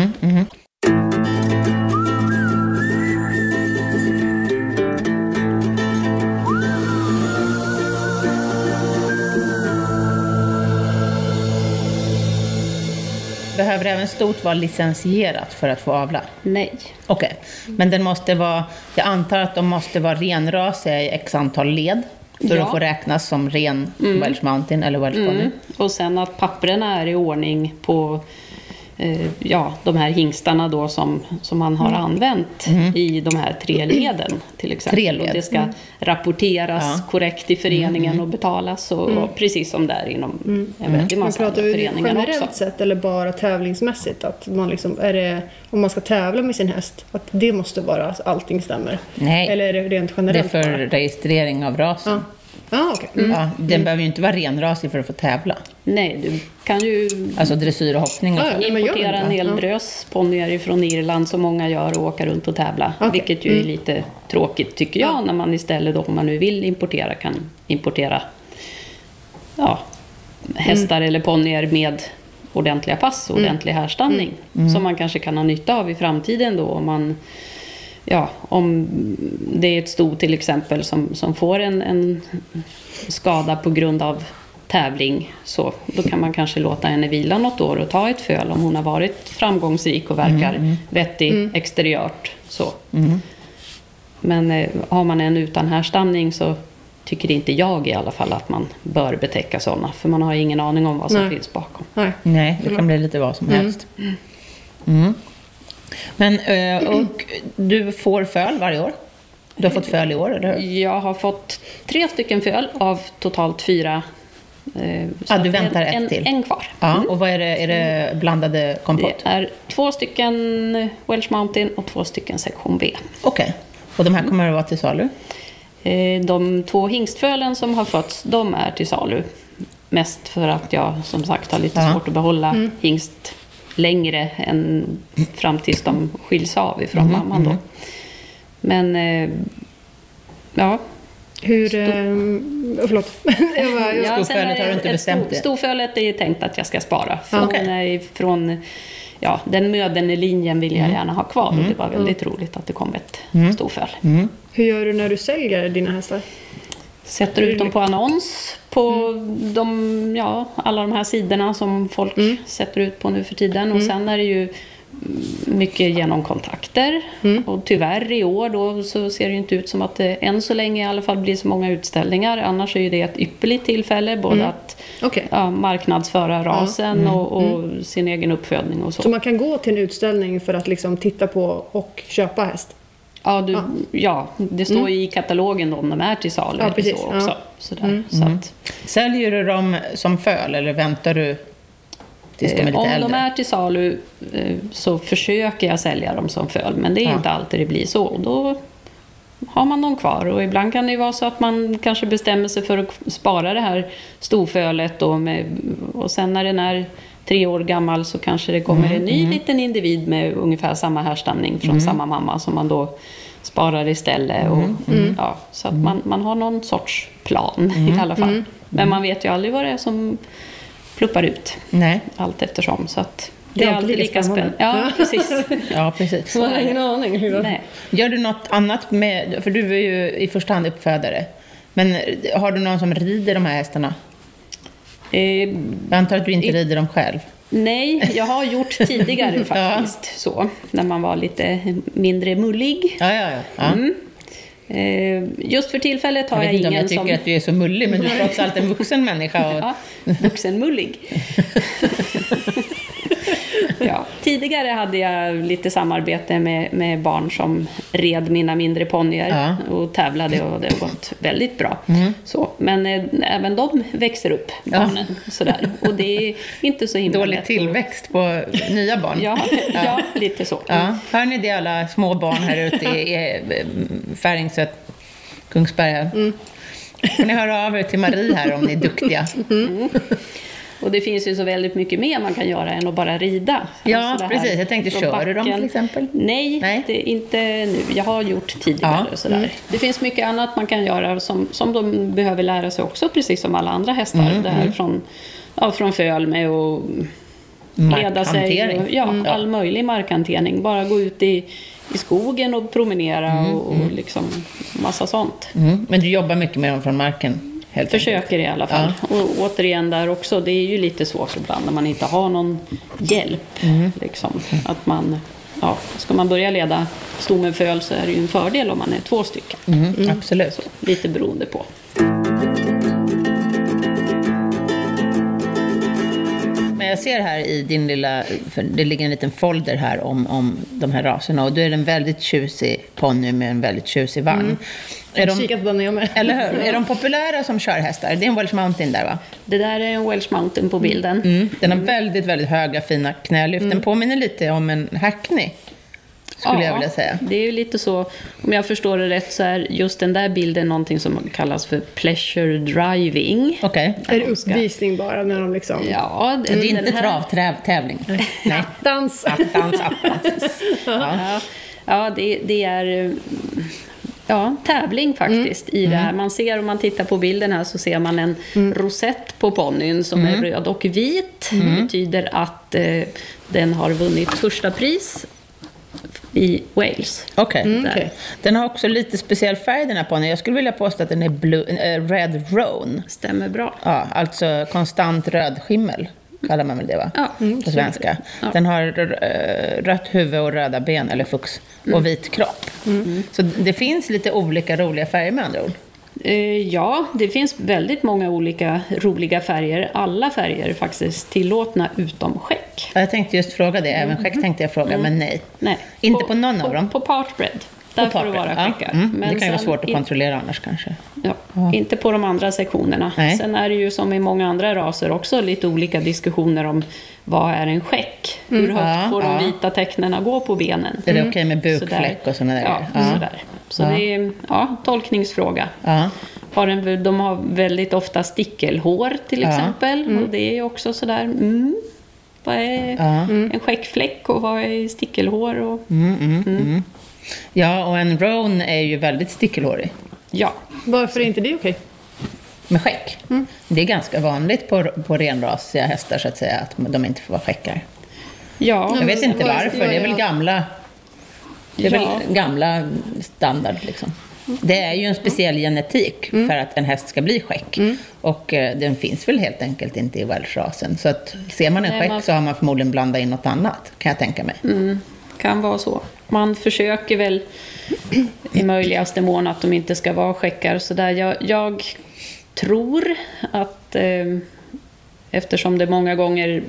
Speaker 1: Behöver även stort vara licensierat för att få avla?
Speaker 3: Nej.
Speaker 1: Okej, men den måste vara, jag antar att de måste vara renrasiga i x antal led för
Speaker 3: Ja.
Speaker 1: att få räknas som ren
Speaker 2: Mm.
Speaker 1: Welsh Mountain eller Welsh Pony.
Speaker 3: Mm. Och sen att papperna är i ordning på eh, ja, de här hingstarna då som, som man
Speaker 2: Mm.
Speaker 3: har använt i de här tre leden. Till exempel.
Speaker 1: Tre led.
Speaker 3: Och det ska
Speaker 2: Mm.
Speaker 3: rapporteras korrekt i föreningen och betalas. Och, och precis som där inom en väldig
Speaker 2: Mm. Men
Speaker 3: massa andra
Speaker 2: pratar vi
Speaker 3: föreningar
Speaker 2: generellt
Speaker 3: också.
Speaker 2: sett eller bara tävlingsmässigt? Att man liksom, är det, om man ska tävla med sin häst, att det måste vara att allting stämmer?
Speaker 1: Nej.
Speaker 2: Eller är det rent
Speaker 1: Det är
Speaker 2: generellt
Speaker 1: för
Speaker 2: bara?
Speaker 1: registrering av rasen.
Speaker 2: Ja, ah, okej. Mm.
Speaker 1: Ja, den behöver ju inte vara renrasig för att få tävla.
Speaker 3: Nej, du kan ju
Speaker 1: Alltså dressyr och hoppning och
Speaker 2: Ja, ja. men gör
Speaker 3: importera
Speaker 2: den
Speaker 3: en
Speaker 2: det?
Speaker 3: hel
Speaker 2: Ja.
Speaker 3: drös ponnyer från Irland som många gör och åka runt och tävla.
Speaker 2: Okej. Mm.
Speaker 3: Vilket ju är lite tråkigt tycker jag när man istället då, om man nu vill importera kan importera ja, hästar eller ponnyer med ordentliga pass och ordentlig härstamning. Som man kanske kan ha nytta av i framtiden då om man Ja, om det är ett sto till exempel som, som får en, en skada på grund av tävling så då kan man kanske låta henne vila något år och ta ett föl om hon har varit framgångsrik och verkar vettig exteriört. Så. Men eh, har man en utan härstamning så tycker inte jag i alla fall att man bör betäcka sådana för man har ingen aning om vad som
Speaker 2: Nej.
Speaker 3: finns bakom.
Speaker 2: Nej.
Speaker 1: Nej,
Speaker 3: Mm.
Speaker 1: det kan bli lite vad som helst. Mm. Men, eh, och du får föl varje år? Du har fått föl i år, eller hur?
Speaker 3: Jag har fått tre stycken föl av totalt fyra. eh, så
Speaker 1: Ah, du
Speaker 3: att
Speaker 1: väntar ett
Speaker 3: en,
Speaker 1: till.
Speaker 3: En, en kvar.
Speaker 1: Ja, och vad är det? Är det blandade
Speaker 3: Det
Speaker 1: kompott?
Speaker 3: är två stycken Welsh Mountain och två stycken sektion B.
Speaker 1: Okej. Och de här kommer att vara till salu?
Speaker 3: Eh, De två hingstfölen som har fötts, de är till salu. Mest för att jag som sagt har lite
Speaker 1: Ja.
Speaker 3: svårt att behålla hingst längre än fram tills de skiljs av ifrån
Speaker 1: Mm.
Speaker 3: mamman då. Men eh, ja,
Speaker 2: Hur... ehm, förlåt. jag bara, jag,
Speaker 1: storfölet
Speaker 3: sen är det
Speaker 1: har du inte
Speaker 3: ett
Speaker 1: bestämt
Speaker 3: stor-
Speaker 1: det?
Speaker 3: Storfölet är tänkt att jag ska spara. För
Speaker 1: okej.
Speaker 3: hon är från, ja, den möderne linjen vill
Speaker 1: Mm.
Speaker 3: jag gärna ha kvar. Och det var väldigt roligt att det kom ett storföl.
Speaker 2: hur gör du när du säljer dina hästar?
Speaker 3: Sätter ut dem på annons på
Speaker 2: Mm.
Speaker 3: de, ja, alla de här sidorna som folk sätter ut på nu för tiden. Och sen är det ju mm, mycket genom kontakter.
Speaker 2: Mm.
Speaker 3: Och tyvärr i år då så ser det ju inte ut som att det än så länge i alla fall blir så många utställningar. Annars är ju det ett ypperligt tillfälle både
Speaker 2: Mm.
Speaker 3: att
Speaker 2: Okej.
Speaker 3: ja, marknadsföra rasen
Speaker 2: mm,
Speaker 3: och, och sin egen uppfödning och
Speaker 2: Så
Speaker 3: så.
Speaker 2: man kan gå till en utställning för att liksom titta på och köpa häst?
Speaker 3: Ja, du, ja, det står ju i katalogen då om de är till salu
Speaker 2: Mm. Ja,
Speaker 3: eller
Speaker 2: precis.
Speaker 3: så
Speaker 2: Ja. Mm.
Speaker 3: också. Sådär. Så att,
Speaker 1: Säljer du dem som föl eller väntar du tills de är
Speaker 3: Eh,
Speaker 1: lite
Speaker 3: Om
Speaker 1: äldre?
Speaker 3: de är till salu eh, så försöker jag sälja dem som föl, men det är
Speaker 1: Ja.
Speaker 3: inte alltid det blir så. Och Då har man dem kvar och ibland kan det ju vara så att man kanske bestämmer sig för att spara det här storfölet då med, och sen när den är tre år gammal så kanske det kommer
Speaker 1: Mm,
Speaker 3: en ny liten individ med ungefär samma härstamning från samma mamma som man då sparar istället. Och,
Speaker 1: Mm,
Speaker 3: mm, Ja, så att man, man har någon sorts plan
Speaker 1: Mm,
Speaker 3: i alla fall. Men man vet ju aldrig vad det är som pluppar ut
Speaker 1: Nej,
Speaker 3: allt eftersom. Så att det,
Speaker 2: Det
Speaker 3: är alltid lika spännande. Ja, precis.
Speaker 1: ja precis.
Speaker 2: Man har ingen aning. hur-
Speaker 3: Nej.
Speaker 1: Gör du något annat med, för du är ju i första hand uppfödare, men har du någon som rider de här hästarna?
Speaker 3: Eh,
Speaker 1: Jag antar att du inte rider dem själv?
Speaker 3: nej, jag har gjort tidigare faktiskt så, när man var lite mindre mullig.
Speaker 1: Ja, ja, ja. ja.
Speaker 3: Mm. Eh, just för tillfället har
Speaker 1: Jag
Speaker 3: jag,
Speaker 1: vet inte om
Speaker 3: ingen
Speaker 1: jag tycker
Speaker 3: som...
Speaker 1: att du är så mullig, men du är trots allt en vuxen människa. Och,
Speaker 3: Ja, vuxenmullig. ja, tidigare hade jag lite samarbete med, med barn som red mina mindre ponnyer
Speaker 1: Ja. Mm.
Speaker 3: och tävlade och det har gått väldigt bra. Så, men eh, även de växer upp, barnen. Sådär. Och det är inte så himla
Speaker 1: dålig
Speaker 3: lätt.
Speaker 1: tillväxt på nya barn.
Speaker 3: Ja, ja, lite så.
Speaker 1: Ja, hör ni det alla små barn här ute i eh, Färingsö,
Speaker 3: Mm.
Speaker 1: Kungsberga? Får ni höra av er till Marie här om ni är duktiga.
Speaker 3: Och det finns ju så väldigt mycket mer man kan göra än att bara rida.
Speaker 1: Ja,
Speaker 3: Alltså det här
Speaker 1: precis. Jag tänkte,
Speaker 3: från
Speaker 1: kör du dem
Speaker 3: backen.
Speaker 1: till exempel?
Speaker 3: Nej,
Speaker 1: Nej.
Speaker 3: Det är inte nu. Jag har gjort tidigare
Speaker 1: Ja. Mm.
Speaker 3: och sådär. Det finns mycket annat man kan göra som, som de behöver lära sig också, precis som alla andra hästar.
Speaker 1: Mm,
Speaker 3: det här från, ja, från föl med och leda sig.
Speaker 1: Markhantering. Mm.
Speaker 3: Och, ja, all möjlig markhantering. Bara gå ut i, i skogen och promenera och, och liksom massa sånt.
Speaker 1: Mm. Men du jobbar mycket med dem från marken? Helt enkelt.
Speaker 3: Försöker i alla fall. Och återigen där också, det är ju lite svårt ibland när man inte har någon hjälp.
Speaker 1: Mm.
Speaker 3: Liksom. Att man, ja, ska man börja leda stommen föl så är det ju en fördel om man är två stycken.
Speaker 1: Mm. Absolut.
Speaker 3: Lite beroende på.
Speaker 1: Men jag ser här i din lilla, för det ligger en liten folder här om, om de här raserna och då är det en väldigt tjusig ponny med en väldigt tjusig vagn.
Speaker 3: Mm.
Speaker 1: Är
Speaker 2: Jag har
Speaker 1: de,
Speaker 2: kikat på den jag med.
Speaker 1: eller hur? Är de populära som körhästar? Det är en Welsh Mountain där va?
Speaker 3: Det där är en Welsh Mountain på bilden.
Speaker 1: Mm. Den har väldigt, väldigt höga fina knälyft. Den påminner lite om en hackney, skulle jag vilja säga.
Speaker 3: Det är ju lite så, om jag förstår det rätt, så är just den där bilden någonting som kallas för pleasure driving.
Speaker 1: Okej.
Speaker 2: Är det uppvisning bara när de liksom...
Speaker 3: Ja,
Speaker 1: Det är
Speaker 3: den
Speaker 1: inte
Speaker 3: här-
Speaker 1: travtävling. Nej.
Speaker 2: Dans.
Speaker 1: Attans, attans. Ja.
Speaker 3: Ja, ja det, det är eh, ja, tävling faktiskt
Speaker 1: Mm.
Speaker 3: i det här. Man ser, om man tittar på bilden här, så ser man en rosett på ponnyn som
Speaker 1: Mm.
Speaker 3: är röd och vit. Det betyder att eh, den har vunnit första pris i Wales.
Speaker 1: Mm, Okej.
Speaker 2: okej.
Speaker 1: Den har också lite speciell färg den här ponnyn. Jag skulle vilja påstå att den är blue, eh, red roan.
Speaker 3: Stämmer bra.
Speaker 1: Ja, alltså konstant röd skimmel kallar man väl det va?
Speaker 3: Ja.
Speaker 1: På svenska.
Speaker 3: Mm, Ja.
Speaker 1: Den har eh, rött huvud och röda ben, eller fux,
Speaker 3: Mm.
Speaker 1: och vit kropp. Så det finns lite olika roliga färger med andra ord.
Speaker 3: Eh, Ja, det finns väldigt många olika roliga färger. Alla färger är faktiskt tillåtna utom skäck.
Speaker 1: Ja, Jag tänkte just fråga det, även skäck tänkte jag fråga, men nej.
Speaker 3: Mm. Nej.
Speaker 1: Inte på någon av dem?
Speaker 3: På partbred. Där får det
Speaker 1: Partbred.
Speaker 3: vara
Speaker 1: Ja,
Speaker 3: skäckar.
Speaker 1: mm. det kan ju
Speaker 3: sen
Speaker 1: vara svårt att
Speaker 3: i-
Speaker 1: kontrollera annars kanske.
Speaker 3: Ja, Inte på de andra sektionerna.
Speaker 1: Nej.
Speaker 3: Sen är det ju som i många andra raser också lite olika diskussioner om vad är en skäck? Hur högt
Speaker 1: Mm. Ja,
Speaker 3: får
Speaker 1: ja.
Speaker 3: de vita tecknena gå på benen?
Speaker 1: Är det okej med
Speaker 3: Mm. Sådär.
Speaker 1: bukfläck och sådana där
Speaker 3: Ja,
Speaker 1: grejer?
Speaker 3: sådär. Så
Speaker 1: Ja.
Speaker 3: det är ja, tolkningsfråga.
Speaker 1: Ja.
Speaker 3: Har en, de har väldigt ofta stickelhår till
Speaker 1: Ja. Mm.
Speaker 3: exempel. Och det är ju också sådär, mm, vad är
Speaker 1: Ja.
Speaker 3: en skäckfläck och vad är stickelhår? Och,
Speaker 1: Mm, mm, mm. Ja, och en roan är ju väldigt stickelhårig.
Speaker 3: ja.
Speaker 2: Varför är inte det okej?
Speaker 1: med skäck. Det är ganska vanligt på, på renrasiga hästar så att säga, att de inte får vara skäckar.
Speaker 3: Ja,
Speaker 1: Jag vet
Speaker 2: men-
Speaker 1: inte
Speaker 2: ja,
Speaker 1: varför, det är väl
Speaker 2: ja.
Speaker 1: gamla, det är
Speaker 3: Ja.
Speaker 1: väl gamla standard. Liksom. Det är ju en speciell genetik för att en häst ska bli skäck. Och eh, den finns väl helt enkelt inte i welshrasen. Så att ser man en
Speaker 3: Nej,
Speaker 1: skäck
Speaker 3: man-
Speaker 1: så har man förmodligen blandat in något annat, kan jag tänka mig.
Speaker 3: Mm, kan vara så. Man försöker väl i möjligaste mån att de inte ska vara skäckar. Så där jag, jag tror att eh, eftersom det många gånger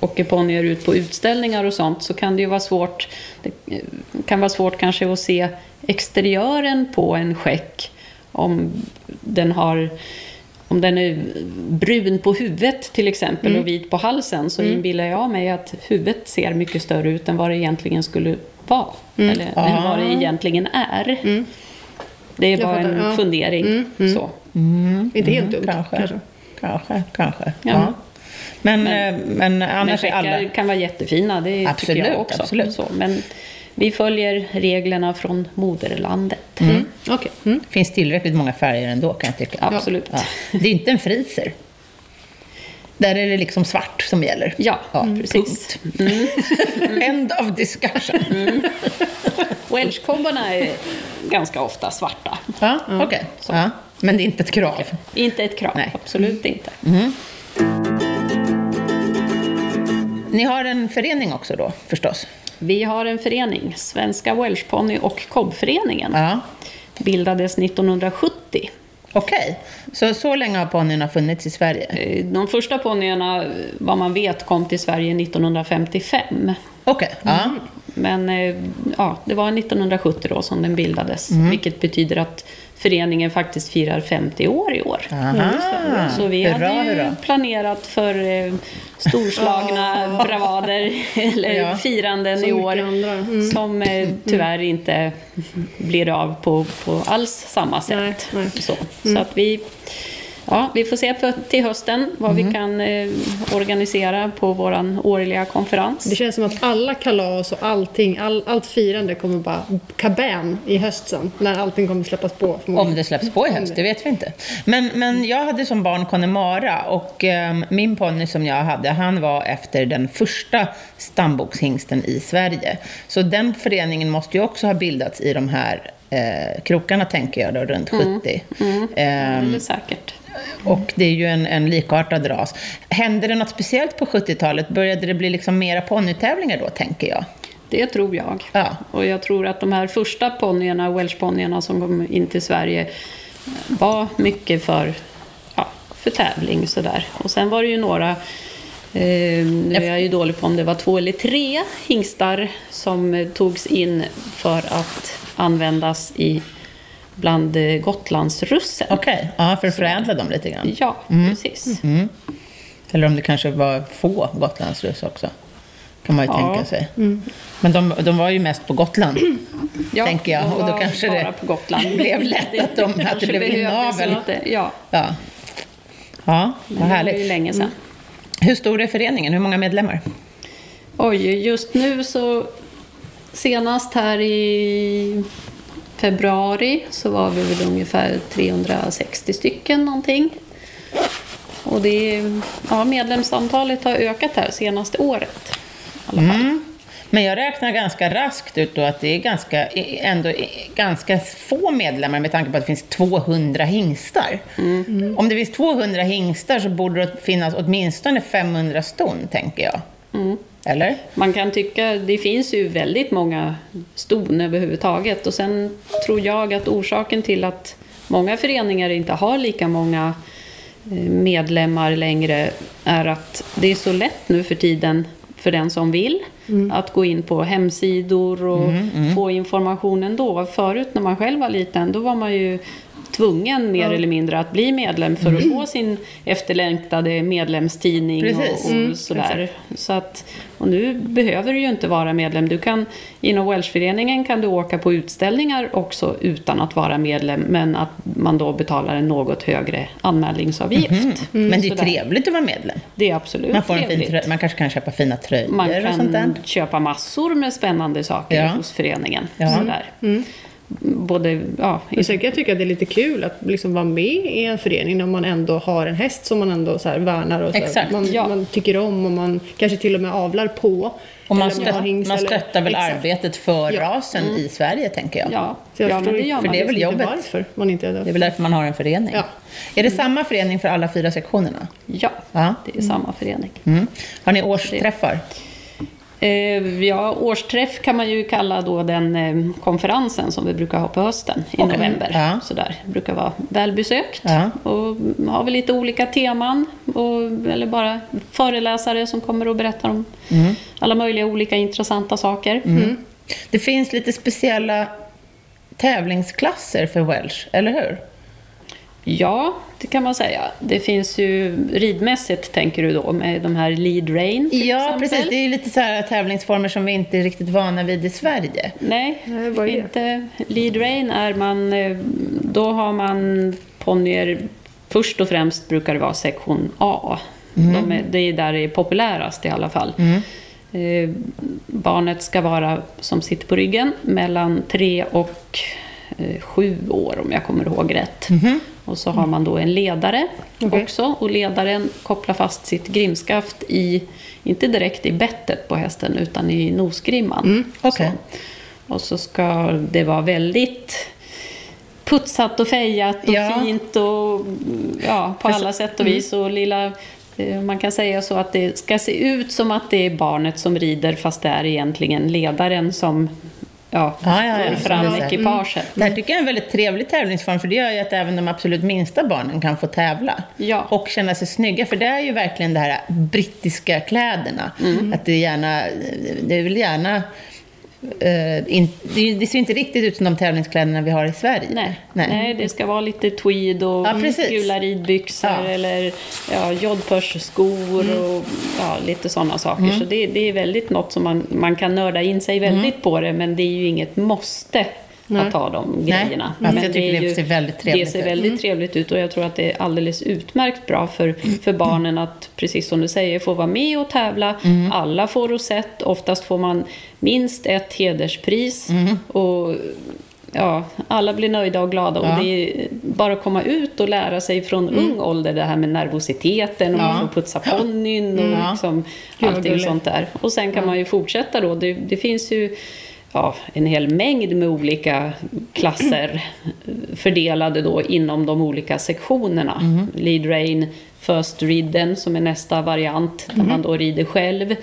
Speaker 3: åker ponnyer ut på utställningar och sånt så kan det ju vara svårt. Det eh, kan vara svårt kanske att se exteriören på en skäck om den har om den är brun på huvudet till exempel
Speaker 2: Mm.
Speaker 3: och vit på halsen så inbillar jag mig att huvudet ser mycket större ut än vad det egentligen skulle vara.
Speaker 2: Mm.
Speaker 3: Eller än vad det egentligen är. Det är
Speaker 2: Ah. Jag
Speaker 3: bara
Speaker 2: fattar,
Speaker 3: en
Speaker 2: ja. Mm.
Speaker 3: fundering. Så.
Speaker 2: Inte helt dumt
Speaker 1: Mm, Kanske,
Speaker 2: kanske.
Speaker 1: kanske, kanske. Ja.
Speaker 3: Ja.
Speaker 1: Men, eh, men
Speaker 3: Men
Speaker 1: annars är alla...
Speaker 3: skäckar kan vara jättefina, det
Speaker 1: Absolut,
Speaker 3: tycker jag också.
Speaker 1: absolut.
Speaker 3: Så, men vi följer reglerna från moderlandet.
Speaker 2: Okej. Mm.
Speaker 1: Det finns tillräckligt många färger ändå kan jag tycka.
Speaker 3: Absolut.
Speaker 1: Ja. Det är inte en friser. Där är det liksom svart som gäller.
Speaker 3: Ja, precis.
Speaker 1: End of discussion.
Speaker 3: Welshkobbarna är ganska ofta svarta.
Speaker 1: Ja, okej. Ja. Men det är inte ett krav.
Speaker 3: Inte ett krav,
Speaker 1: Nej. Mm.
Speaker 3: absolut inte.
Speaker 1: Ni har en förening också då, förstås?
Speaker 3: Vi har en förening, Svenska Welshponny och Kobbföreningen.
Speaker 1: Ja.
Speaker 3: Bildades 1970.
Speaker 1: Okej. Så, så länge har ponnyerna funnits i Sverige?
Speaker 3: Eh, De första ponnyerna, eh, vad man vet, kom till Sverige 1955.
Speaker 1: Okej. Ja.
Speaker 3: Men eh, ja, det var 1970 då som den bildades,
Speaker 1: Mm.
Speaker 3: vilket betyder att föreningen faktiskt firar 50 år i år.
Speaker 1: Aha.
Speaker 3: Så vi
Speaker 1: Ah, hurra,
Speaker 3: hade ju
Speaker 1: hurra.
Speaker 3: planerat för eh, storslagna bravader eller
Speaker 1: Ah. Ja. Mm.
Speaker 3: firanden i
Speaker 2: mycket
Speaker 3: år
Speaker 2: andra. Mm.
Speaker 3: som eh, tyvärr inte blir av på, på alls samma sätt.
Speaker 2: Nej, Mm. nej.
Speaker 3: Så, så att vi Ja, vi får se på, till hösten vad
Speaker 1: Mm.
Speaker 3: vi kan eh, organisera på vår årliga konferens.
Speaker 2: Det känns som att alla kalas och allting, all, allt firande kommer bara kabam i höst sen. När allting kommer släppas på.
Speaker 1: Om
Speaker 2: förmodligen.
Speaker 1: det släpps på i höst, det vet vi inte. Men, men jag hade som barn Connemara och ehm, min ponny som jag hade, han var efter den första stambokshingsten i Sverige. Så den föreningen måste ju också ha bildats i de här eh, krokarna, tänker jag, då, runt 70. Ehm,
Speaker 3: Alldeles säkert.
Speaker 1: och det är ju en, en likartad ras. Hände det något speciellt på 70-talet? Började det bli liksom mera ponnytävlingar då, tänker jag?
Speaker 3: Det tror jag.
Speaker 1: Ja.
Speaker 3: Och jag tror att de här första ponnyerna, welshponnyerna som kom in till Sverige eh, var mycket för, ja, för tävling sådär. Och sen var det ju några, eh, nu är jag ju dålig på om det var två eller tre hingstar som eh, togs in för att användas i bland eh, Gotlandsrussen.
Speaker 1: Okej, ja, för att förädla dem lite grann.
Speaker 3: Ja, precis.
Speaker 1: Mm. Eller om det kanske var få Gotlandsruss också. Kan man ju
Speaker 3: Ja. Mm.
Speaker 1: tänka sig. Men de, de var ju mest på Gotland,
Speaker 3: Ja,
Speaker 1: tänker jag.
Speaker 3: de
Speaker 1: Och då
Speaker 3: var
Speaker 1: kanske
Speaker 3: bara
Speaker 1: det
Speaker 3: på Gotland.
Speaker 1: blev lätt att, de, att det
Speaker 3: kanske
Speaker 1: blev
Speaker 3: behövdes
Speaker 1: inavel.
Speaker 3: lite, Ja,
Speaker 1: Ja. ja, vad
Speaker 3: men det var ju
Speaker 1: härligt.
Speaker 3: länge sedan.
Speaker 1: Hur stor är föreningen? Hur många medlemmar?
Speaker 3: Oj, just nu så senast här i februari så var vi väl ungefär 360 stycken någonting. Och det, ja, medlemsantalet har ökat här senaste året.
Speaker 1: Mm. Men jag räknar ganska raskt ut då att det är ganska, ändå ganska få medlemmar med tanke på att det finns 200 hingstar.
Speaker 3: Mm.
Speaker 1: Om det finns 200 hingstar så borde det finnas åtminstone 500 ston, tänker jag.
Speaker 3: Mm.
Speaker 1: Eller?
Speaker 3: Man kan tycka, det finns ju väldigt många ston överhuvudtaget och sen tror jag att orsaken till att många föreningar inte har lika många eh, medlemmar längre är att det är så lätt nu för tiden för den som vill att gå in på hemsidor och få information ändå. Förut när man själv var liten då var man ju tvungen mer eller mindre att bli medlem för att få sin efterlängtade medlemstidning
Speaker 1: Precis.
Speaker 3: och, och sådär. Så att, och nu behöver du ju inte vara medlem. Du kan, inom Welshföreningen kan du åka på utställningar också utan att vara medlem, men att man då betalar en något högre anmälningsavgift.
Speaker 1: Men det är
Speaker 3: Sådär.
Speaker 1: trevligt att vara medlem.
Speaker 3: Det är absolut
Speaker 1: Mhm. Man, får en fin
Speaker 3: trevligt.
Speaker 1: trö- man kanske kan köpa fina tröjor
Speaker 3: Man
Speaker 1: och sånt där.
Speaker 3: kan köpa massor med spännande saker
Speaker 1: Ja.
Speaker 3: hos föreningen.
Speaker 1: Ja. Mm.
Speaker 3: Sådär. Både, ja,
Speaker 2: Men sen kan jag tycka att det är lite kul att liksom vara med i en förening när man ändå har en häst som man ändå så här värnar och så här,
Speaker 1: Exakt,
Speaker 2: man,
Speaker 3: ja.
Speaker 2: man tycker om och man kanske till och med avlar på.
Speaker 1: Och man,
Speaker 2: Eller om har
Speaker 1: stött,
Speaker 2: hingst
Speaker 1: man
Speaker 2: eller-
Speaker 1: stöttar väl
Speaker 2: Exakt.
Speaker 1: arbetet för
Speaker 2: Ja. Mm.
Speaker 1: rasen i Sverige, tänker jag.
Speaker 3: ja,
Speaker 2: Så jag
Speaker 3: ja men
Speaker 2: förstår
Speaker 3: det
Speaker 2: ju liksom
Speaker 3: gör
Speaker 1: för
Speaker 3: man.
Speaker 1: det är väl
Speaker 2: inte
Speaker 1: jobbet.
Speaker 2: varför man inte är
Speaker 1: Det
Speaker 2: det.
Speaker 1: är väl därför man har en förening.
Speaker 2: Ja.
Speaker 1: Är det samma förening för alla fyra sektionerna?
Speaker 3: Ja,
Speaker 1: Ja.
Speaker 3: det är samma förening.
Speaker 1: Mm. Har ni årsträffar?
Speaker 3: Eh, ja, årsträff kan man ju kalla då den eh, konferensen som vi brukar ha på hösten i
Speaker 1: Okej.
Speaker 3: november.
Speaker 1: Ja.
Speaker 3: Sådär. Det brukar vara välbesökt
Speaker 1: Ja.
Speaker 3: och har vi lite olika teman och, eller bara föreläsare som kommer och berättar om
Speaker 1: Mm.
Speaker 3: alla möjliga olika intressanta saker.
Speaker 1: Det finns lite speciella tävlingsklasser för Welsh, eller hur?
Speaker 3: Ja, det kan man säga. Det finns ju ridmässigt, tänker du då, med de här lead rain till
Speaker 1: Ja,
Speaker 3: exempel.
Speaker 1: precis. Det är ju lite så här tävlingsformer som vi inte är riktigt vana vid i Sverige.
Speaker 3: Nej,
Speaker 2: Nej, vad är det?
Speaker 3: inte lead rein är man, eh, då har man ponnyer, först och främst brukar det vara sektion A.
Speaker 2: Mm.
Speaker 3: De är, det är där det är populärast i alla fall. Eh, barnet ska vara, som sitter på ryggen, mellan 3 och eh, 7 år om jag kommer ihåg rätt. Och så har man då en ledare
Speaker 2: Mhm. Okej.
Speaker 3: också och ledaren kopplar fast sitt grimskaft i, inte direkt i bettet på hästen utan i nosgrimman.
Speaker 2: Mm,
Speaker 1: Okej.
Speaker 3: Och så ska det vara väldigt putsat och fejat och
Speaker 1: Ja. mm.
Speaker 3: fint och mm, ja, på alla sätt och vis. Och lilla, eh, man kan säga så att det ska se ut som att det är barnet som rider fast det är egentligen ledaren som ja,
Speaker 1: Ja, ja, ja.
Speaker 3: för fram
Speaker 1: Ja, ja.
Speaker 3: ekipaget.
Speaker 1: Det här tycker jag är en väldigt trevlig tävlingsform, för det gör ju att även de absolut minsta barnen kan få tävla.
Speaker 3: Ja.
Speaker 1: Och känna sig snygga, för det är ju verkligen det här brittiska kläderna.
Speaker 3: Mm.
Speaker 1: Att det är gärna, det är väl gärna eh, in, det, det ser ju inte riktigt ut som de tävlingskläderna vi har i Sverige.
Speaker 3: Nej. Nej. det ska vara lite tweed och mm,
Speaker 1: Ja, precis.
Speaker 3: gula ridbyxor
Speaker 1: Ja. Mm.
Speaker 3: eller ja, jodpörsskor och ja, lite sådana saker. Så det, det är väldigt något som man, man kan nörda in sig väldigt på det, men det är ju inget måste
Speaker 2: Nej.
Speaker 3: att ta de
Speaker 1: Mm. Nej,
Speaker 3: grejerna.
Speaker 1: fast jag tycker
Speaker 3: är
Speaker 1: det ser väldigt trevligt
Speaker 3: det ser
Speaker 1: ut.
Speaker 3: väldigt trevligt ut och jag tror att det är alldeles utmärkt bra för, för barnen att, precis som du säger, få vara med och tävla. Alla får rosett, oftast får man minst ett hederspris. Och, Ja, alla blir nöjda och glada.
Speaker 1: Ja.
Speaker 3: Och det är bara att komma ut och lära sig från ung ålder det här med nervositeten och man får putsa ponnyn och
Speaker 1: Ja.
Speaker 3: liksom
Speaker 2: vad
Speaker 3: allting
Speaker 2: gulligt.
Speaker 3: sånt sånt där. Och sen kan man ju fortsätta då. Det, det finns ju ja, en hel mängd med olika klasser eh, fördelade då inom de olika sektionerna. Lead Rain, First Ridden som är nästa variant där man då rider själv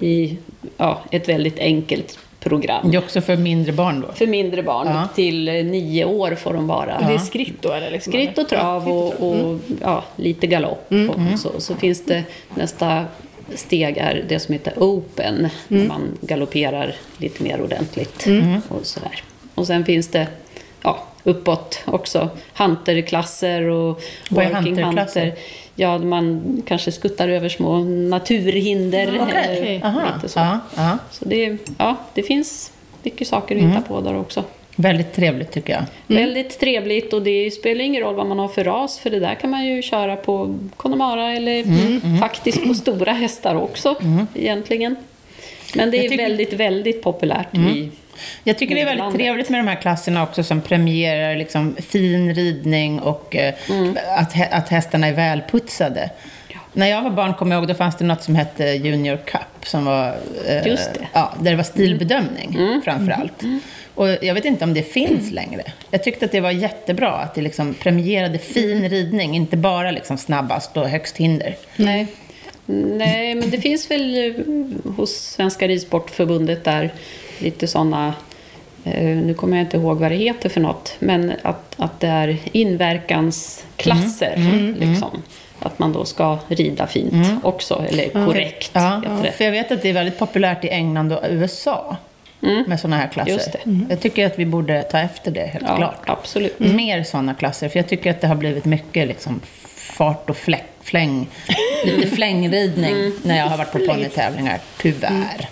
Speaker 3: i ja, ett väldigt enkelt program.
Speaker 1: Det är också för mindre barn då.
Speaker 3: För mindre barn,
Speaker 1: Ja.
Speaker 3: upp till eh, nio år får de vara.
Speaker 2: Det är skritt då eller? Liksom,
Speaker 3: Skritt och trav och, och
Speaker 1: Mm.
Speaker 3: ja, lite galopp. Och så, så finns det nästa steg är det som heter open.
Speaker 1: Mm.
Speaker 3: När man galopperar lite mer ordentligt. Och, sådär. och sen finns det ja, uppåt också. Hunterklasser och
Speaker 1: Vad är
Speaker 3: working
Speaker 1: hunterklasser?
Speaker 3: hunter. Ja, man kanske skuttar över små naturhinder.
Speaker 1: Okej.
Speaker 3: eller
Speaker 1: Aha,
Speaker 3: lite så.
Speaker 1: ja, ja.
Speaker 3: Så det, ja, det finns mycket saker att
Speaker 1: Mm.
Speaker 3: hitta på där också.
Speaker 1: Väldigt trevligt tycker jag.
Speaker 3: Väldigt trevligt och det spelar ingen roll vad man har för ras för det där kan man ju köra på Connemara eller
Speaker 1: Mm,
Speaker 3: faktiskt på stora hästar också egentligen. Men det
Speaker 1: Jag
Speaker 3: är
Speaker 1: tycker- Mm.
Speaker 3: väldigt, väldigt populärt i
Speaker 1: Jag tycker det är väldigt
Speaker 3: Nederländerna.
Speaker 1: trevligt med de här klasserna också som premierar liksom fin ridning och eh,
Speaker 3: Mm.
Speaker 1: att, hä- att hästarna är välputsade. När jag var barn kommer jag ihåg, då fanns det något som hette Junior Cup. Som var, eh,
Speaker 3: Just det. Mm. Mm-hmm.
Speaker 1: Ja, där det var stilbedömning framför allt. Och jag vet inte om det finns längre. Jag tyckte att det var jättebra att det liksom premierade fin ridning, inte bara liksom snabbast och högst hinder.
Speaker 3: Nej. Nej, men det finns väl eh, hos Svenska Ridsportförbundet där lite sådana, eh, nu kommer jag inte ihåg vad det heter för något, men att, att det är inverkansklasser.
Speaker 1: Mm.
Speaker 3: liksom. Att man då ska rida fint också, eller korrekt.
Speaker 1: Ja,
Speaker 3: heter det.
Speaker 1: för jag vet att det är väldigt populärt i England och USA med sådana här klasser.
Speaker 3: Mm. Just det.
Speaker 1: Jag tycker att vi borde ta efter det, helt
Speaker 3: Ja,
Speaker 1: klart.
Speaker 3: absolut.
Speaker 1: Mer sådana klasser, för jag tycker att det har blivit mycket liksom, fart och fläck, fläng, lite flängridning
Speaker 3: Mm.
Speaker 1: när jag har varit på ponnytävlingar, tyvärr.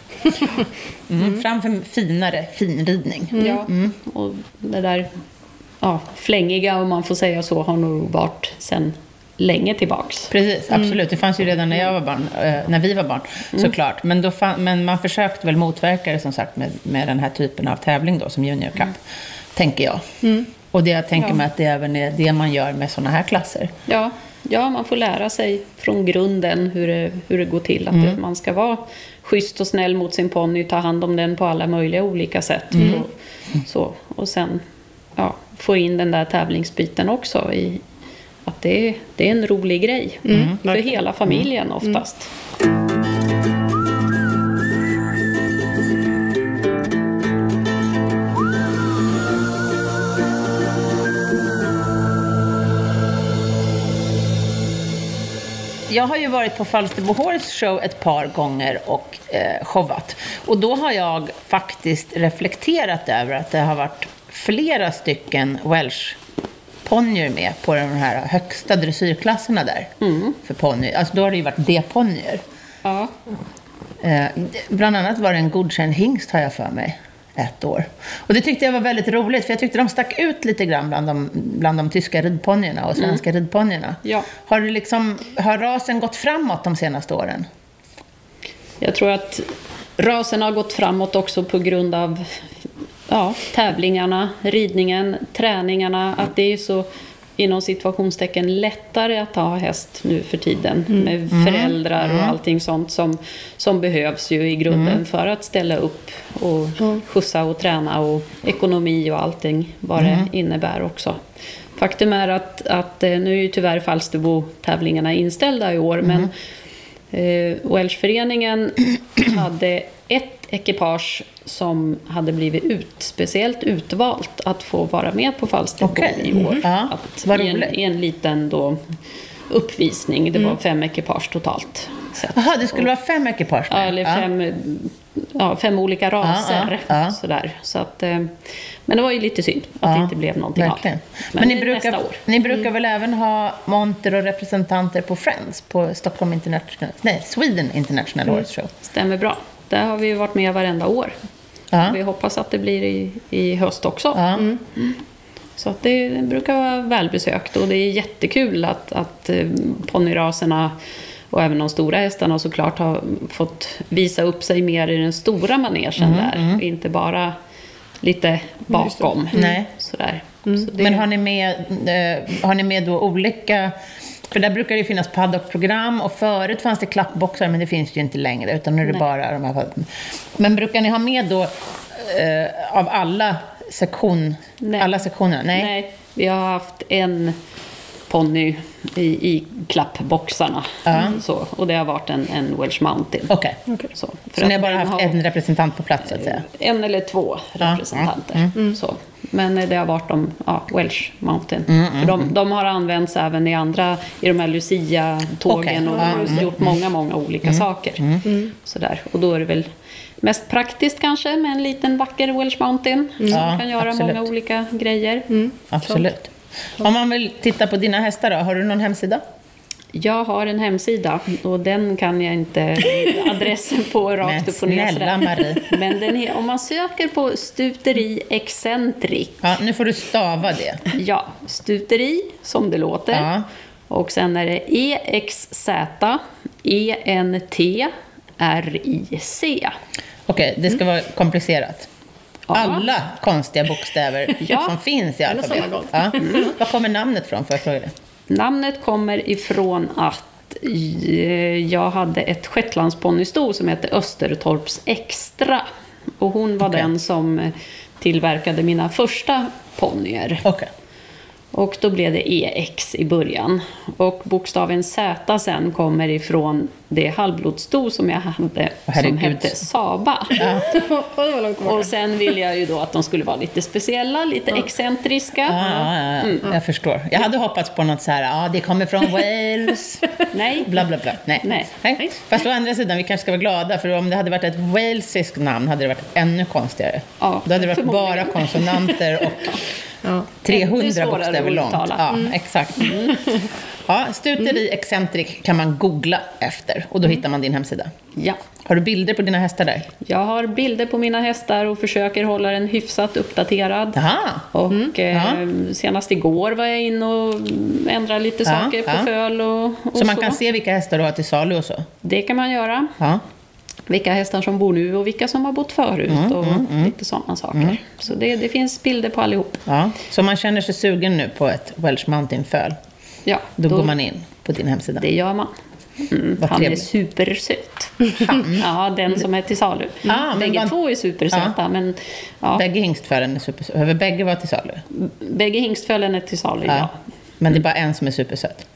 Speaker 1: Mm, framför finare finridning.
Speaker 3: Ja. Och det där ja, flängiga, om man får säga så, har nog varit sedan länge tillbaks.
Speaker 1: Precis, absolut. Det fanns ju redan när jag var barn, eh, när vi var barn, såklart. Men, då fan, men man försökte väl motverka det som sagt med, med den här typen av tävling då, som Junior Cup, tänker jag. Och det jag tänker mig att det även är det man gör med sådana här klasser.
Speaker 3: Ja, ja, man får lära sig från grunden hur det, hur det går till. Att det- man ska vara schysst och snäll mot sin ponny, ta hand om den på alla möjliga olika sätt. Och, så. och sen ja, få in den där tävlingsbiten också. I, att det, är- det är en rolig grej för
Speaker 2: verkligen.
Speaker 3: hela familjen oftast.
Speaker 1: Jag har ju varit på Falsterbo Horse Show ett par gånger och eh, showat. Och då har jag faktiskt reflekterat över att det har varit flera stycken Welsh ponnyer med på de här högsta dressyrklasserna där. För ponny. Alltså då har det ju varit D-ponnyer.
Speaker 3: Ja.
Speaker 1: Eh, bland annat var det en godkänd hingst, har jag för mig, ett år. Och det tyckte jag var väldigt roligt, för jag tyckte de stack ut lite grann bland de, bland de tyska ridponnyerna och svenska ridponnyerna.
Speaker 3: Mm. Ja.
Speaker 1: Har, det liksom, har rasen gått framåt de senaste åren?
Speaker 3: Jag tror att rasen har gått framåt också på grund av ja, tävlingarna, ridningen, träningarna. Att det är så inom situationstecken lättare att ha häst nu för tiden. Med föräldrar och allting sånt som, som behövs ju i grunden för att ställa upp och skjutsa och träna och ekonomi och allting vad det innebär också. Faktum är att, att eh, nu är ju tyvärr Falsterbo-tävlingarna inställda i år men Eh, Welshföreningen hade ett ekipage som hade blivit ut, speciellt utvalt att få vara med på Falsterbo
Speaker 1: Okej. Mm-hmm.
Speaker 3: i år.
Speaker 1: Ja,
Speaker 3: Att
Speaker 1: vad
Speaker 3: i, en,
Speaker 1: roligt. Mm.
Speaker 3: I en liten då uppvisning, det var fem ekipage totalt. sett.
Speaker 1: Jaha, det skulle vara fem ekipage
Speaker 3: Ja,
Speaker 1: med?
Speaker 3: eller fem, ja, fem olika raser.
Speaker 1: ja, ja.
Speaker 3: Sådär. Så att, eh, men det var ju lite synd att det
Speaker 1: Ja,
Speaker 3: inte blev någonting
Speaker 1: Verkligen.
Speaker 3: av det.
Speaker 1: Men,
Speaker 3: Men,
Speaker 1: ni brukar,
Speaker 3: nästa år. Mm.
Speaker 1: ni brukar väl även ha monter och representanter på Friends, på Stockholm
Speaker 3: Mm.
Speaker 1: International, nej, Sweden International Horse Show?
Speaker 3: Stämmer bra. Där har vi ju varit med varenda år.
Speaker 1: Ja.
Speaker 3: Vi hoppas att det blir i, i höst också. Mm.
Speaker 1: Ja.
Speaker 3: Så att det brukar vara välbesökt och det är jättekul att, att eh, ponnyraserna och även de stora hästarna såklart har fått visa upp sig mer i den stora manegen
Speaker 1: Mm,
Speaker 3: där. Inte bara lite bakom.
Speaker 1: Nej. Mm.
Speaker 3: Sådär. Så det,
Speaker 1: Men har ni, med, eh, har ni med då olika... För där brukar det ju finnas paddockprogram och förut fanns det klappboxar men det finns ju inte längre utan nu är det bara de här... padd- Men brukar ni ha med då eh, av alla, sektion,
Speaker 3: Nej.
Speaker 1: alla sektioner? Nej.
Speaker 3: nej, vi har haft en ponny i, i klappboxarna. Så, och det har varit en, en Welsh Mountain.
Speaker 1: Okej.
Speaker 3: Så, för
Speaker 1: Så ni har
Speaker 3: att
Speaker 1: bara
Speaker 3: den
Speaker 1: haft
Speaker 3: har-
Speaker 1: en representant på plats så att säga?
Speaker 3: en eller två
Speaker 1: Ja. Mm.
Speaker 3: representanter. Så. Men eh, det har varit de, ja, Welsh Mountain.
Speaker 1: Mm,
Speaker 3: För de, de har använts även i andra, i de här Lucia-tågen
Speaker 1: Okej. Mm,
Speaker 3: och
Speaker 1: Ja,
Speaker 3: gjort många, många olika saker.
Speaker 1: Mm.
Speaker 3: Sådär. Och då är det väl mest praktiskt kanske med en liten vacker Welsh Mountain som
Speaker 1: Ja,
Speaker 3: kan göra
Speaker 1: absolut.
Speaker 3: många olika grejer.
Speaker 1: Absolut. Om man vill titta på dina hästar då, har du någon hemsida?
Speaker 3: Jag har en hemsida och den kan jag inte adressen på
Speaker 1: Men
Speaker 3: rakt upp och ner.
Speaker 1: snälla
Speaker 3: sådär.
Speaker 1: Marie.
Speaker 3: Men den är, om man söker på Stuteri Eccentric
Speaker 1: Ja, nu får du stava det.
Speaker 3: Ja, stuteri som det låter.
Speaker 1: Ja.
Speaker 3: Och sen är det E EXZ E ENT RIC.
Speaker 1: Okej, det ska vara komplicerat.
Speaker 3: Mm. Ja.
Speaker 1: Alla konstiga bokstäver
Speaker 3: Ja.
Speaker 1: som finns i
Speaker 2: Alla samma
Speaker 1: alfabetet.
Speaker 2: gång.
Speaker 1: Ja.
Speaker 3: Mm.
Speaker 1: Var kommer namnet från? Får jag fråga det?
Speaker 3: Namnet kommer ifrån att eh, jag hade ett shetlandsponnysto som hette Östertorps Extra. Och hon var
Speaker 1: Okej.
Speaker 3: den som eh, tillverkade mina första ponnyer.
Speaker 1: Okej.
Speaker 3: Och då blev det EX i början. Och bokstaven Z sen kommer ifrån det halvblodsto som jag hade
Speaker 1: Åh,
Speaker 3: som
Speaker 1: herregud.
Speaker 3: hette Saba.
Speaker 2: Oj, vad långt bort.
Speaker 3: Och sen ville jag ju då att de skulle vara lite speciella, lite excentriska.
Speaker 1: Ja, ja, ja,
Speaker 3: Mm.
Speaker 1: ja. Jag förstår. Jag hade hoppats på något så här, ja, det kommer från Wales,
Speaker 3: Nej,
Speaker 1: bla bla bla. Nej.
Speaker 3: Nej.
Speaker 1: Fast å andra sidan, vi kanske ska vara glada, för om det hade varit ett walesiskt namn hade det varit ännu konstigare.
Speaker 3: Ja,
Speaker 1: Då hade det varit bara
Speaker 3: förmodligen.
Speaker 1: konsonanter och
Speaker 2: Ja.
Speaker 1: 300
Speaker 3: svårare
Speaker 1: bokstäver
Speaker 3: att
Speaker 1: långt.
Speaker 3: uttala. Mm.
Speaker 1: Ja, exakt. Ja, stuteri Eccentric kan man googla efter och då
Speaker 3: Mm.
Speaker 1: hittar man din hemsida.
Speaker 3: ja.
Speaker 1: Har du bilder på dina hästar där?
Speaker 3: Jag har bilder på mina hästar och försöker hålla den hyfsat uppdaterad.
Speaker 1: Aha.
Speaker 3: Och eh, senast igår var jag inne och ändrade lite
Speaker 1: Ja,
Speaker 3: saker på
Speaker 1: ja.
Speaker 3: föl och, och
Speaker 1: Så man kan se vilka hästar du har till salu och så?
Speaker 3: Det kan man göra.
Speaker 1: Ja.
Speaker 3: vilka hästar som bor nu och vilka som har bott förut
Speaker 1: Mm,
Speaker 3: och lite sådana saker. Så det, det finns bilder på allihop.
Speaker 1: ja. Så om man känner sig sugen nu på ett Welsh Mountain-föl,
Speaker 3: Ja,
Speaker 1: då, går man in på din hemsida.
Speaker 3: Det gör man. Mm,
Speaker 1: Vad
Speaker 3: han är
Speaker 1: trevligt. Mm.
Speaker 3: supersöt. ja, den som är till salu.
Speaker 1: Ja, men
Speaker 3: bägge
Speaker 1: vad-
Speaker 3: två är supersöta, men ja,
Speaker 1: Bägge hingstfölen är super... Behöver bägge vara till salu?
Speaker 3: bägge hingstfölen är till salu. Ja.
Speaker 1: Men det är bara en som är supersöt.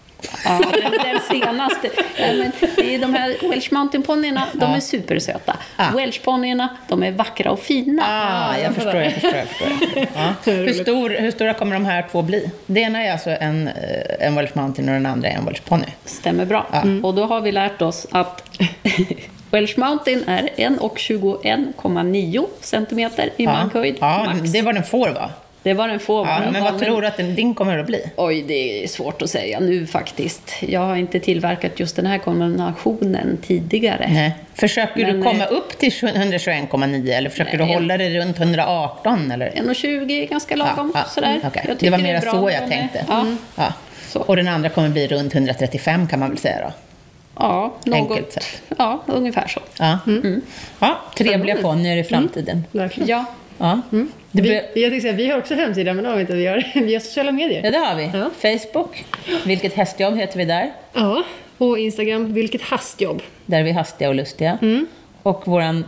Speaker 3: Ja, den, den senaste. Ja, men det är de här Welsh Mountain-ponnyerna, de är supersöta.
Speaker 1: Ja.
Speaker 3: Welsh-ponnyerna, de är vackra och fina.
Speaker 1: Ah, jag förstår, jag förstår. Jag förstår, jag förstår. Ja. Hur, stor, hur stora kommer de här två bli? Det ena är alltså en, eh, en Welsh Mountain och den andra är en Welsh Pony.
Speaker 3: Stämmer bra.
Speaker 1: Mm.
Speaker 3: Och då har vi lärt oss att Welsh Mountain är 1,21,9 centimeter i mankhöjd.
Speaker 1: ja,
Speaker 3: max.
Speaker 1: det var den får va?
Speaker 3: Det var den får
Speaker 1: Ja,
Speaker 3: vara.
Speaker 1: men vad tror du att den, din kommer att bli?
Speaker 3: Oj, det är svårt att säga nu faktiskt. Jag har inte tillverkat just den här kombinationen tidigare.
Speaker 1: Nej. Eh, Försöker
Speaker 3: Men,
Speaker 1: du komma
Speaker 3: eh,
Speaker 1: upp till 121,9 eller försöker du
Speaker 3: Nej.
Speaker 1: hålla dig runt 118? Eller?
Speaker 3: 1,20 är ganska lagom.
Speaker 1: Ja, ja,
Speaker 3: sådär.
Speaker 1: mm, okej.
Speaker 3: Jag
Speaker 1: Det
Speaker 3: tycker
Speaker 1: var
Speaker 3: är
Speaker 1: mera
Speaker 3: bra
Speaker 1: så
Speaker 3: när
Speaker 1: jag
Speaker 3: de är-
Speaker 1: tänkte. Mm.
Speaker 3: Ja,
Speaker 1: Ja.
Speaker 3: Så.
Speaker 1: Och den andra kommer bli runt 135 kan man väl säga då?
Speaker 3: ja, något,
Speaker 1: Enkelt sett.
Speaker 3: ja, ungefär så.
Speaker 1: Ja. Ja, trevliga ponnyer i framtiden.
Speaker 2: Verkligen.
Speaker 3: Ja,
Speaker 1: Ja. Det
Speaker 2: Vi,
Speaker 1: be-
Speaker 2: jag tänkte säga, vi har också hemsida, men det har vi inte. Vi har, vi har sociala medier.
Speaker 1: Ja, det har vi.
Speaker 2: Ja.
Speaker 1: Facebook, Vilket hästjobb heter vi där.
Speaker 2: Ja, och Instagram, vilket hastjobb.
Speaker 1: Där är vi hastiga och lustiga.
Speaker 2: Mm.
Speaker 1: Och våran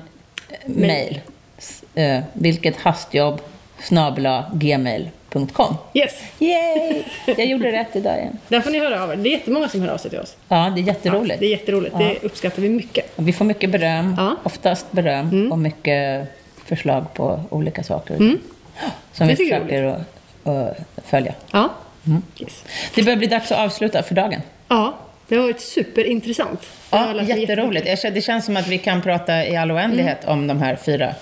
Speaker 1: eh, mail, s- eh, vilket hastjobb snabla gmail.com.
Speaker 2: Yes,
Speaker 1: Yay! Jag gjorde rätt idag igen.
Speaker 2: där får ni höra av er. Det är jättemånga som hör av sig till oss.
Speaker 1: Ja, det är
Speaker 2: Det
Speaker 1: jätteroligt.
Speaker 2: är jätteroligt, det uppskattar vi mycket.
Speaker 1: Vi får mycket beröm,
Speaker 2: Ja. Mm.
Speaker 1: oftast beröm, och mycket förslag på olika saker. Som
Speaker 2: Det
Speaker 1: vi
Speaker 2: tycker jag är
Speaker 1: försöker att, att följa.
Speaker 2: Ja. Mm. Yes.
Speaker 1: Det börjar bli dags att avsluta för dagen.
Speaker 2: ja, det har varit superintressant. Jag har
Speaker 1: Ja,
Speaker 2: lärt mig
Speaker 1: jätteroligt. Mm. Jag känner- Det känns som att vi kan prata i all oändlighet om de här fyra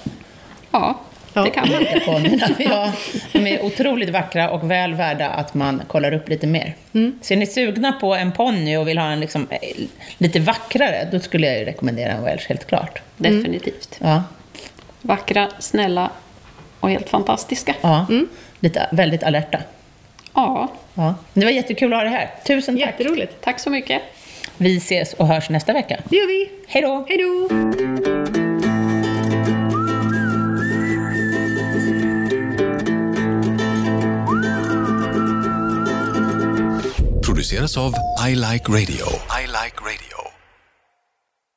Speaker 3: ja,
Speaker 2: Ja.
Speaker 3: det kan
Speaker 1: Mm.
Speaker 3: man.
Speaker 1: ponnyerna. Ja, de är otroligt vackra och väl värda att man kollar upp lite mer. Så är ni sugna på en ponny och vill ha en liksom, eh, lite vackrare, då skulle jag ju rekommendera en welsh, helt klart.
Speaker 3: Definitivt.
Speaker 1: Ja.
Speaker 3: Vackra, snälla och helt fantastiska.
Speaker 1: Ja. Lite, väldigt alerta.
Speaker 3: Ja,
Speaker 1: Ja. Det var jättekul att ha dig här. Tusen tack.
Speaker 2: Jätteroligt.
Speaker 3: tack så mycket.
Speaker 1: Vi ses och hörs nästa vecka.
Speaker 2: Det gör vi.
Speaker 1: Hej då!
Speaker 2: Hej då!
Speaker 4: produceras av I Like Radio.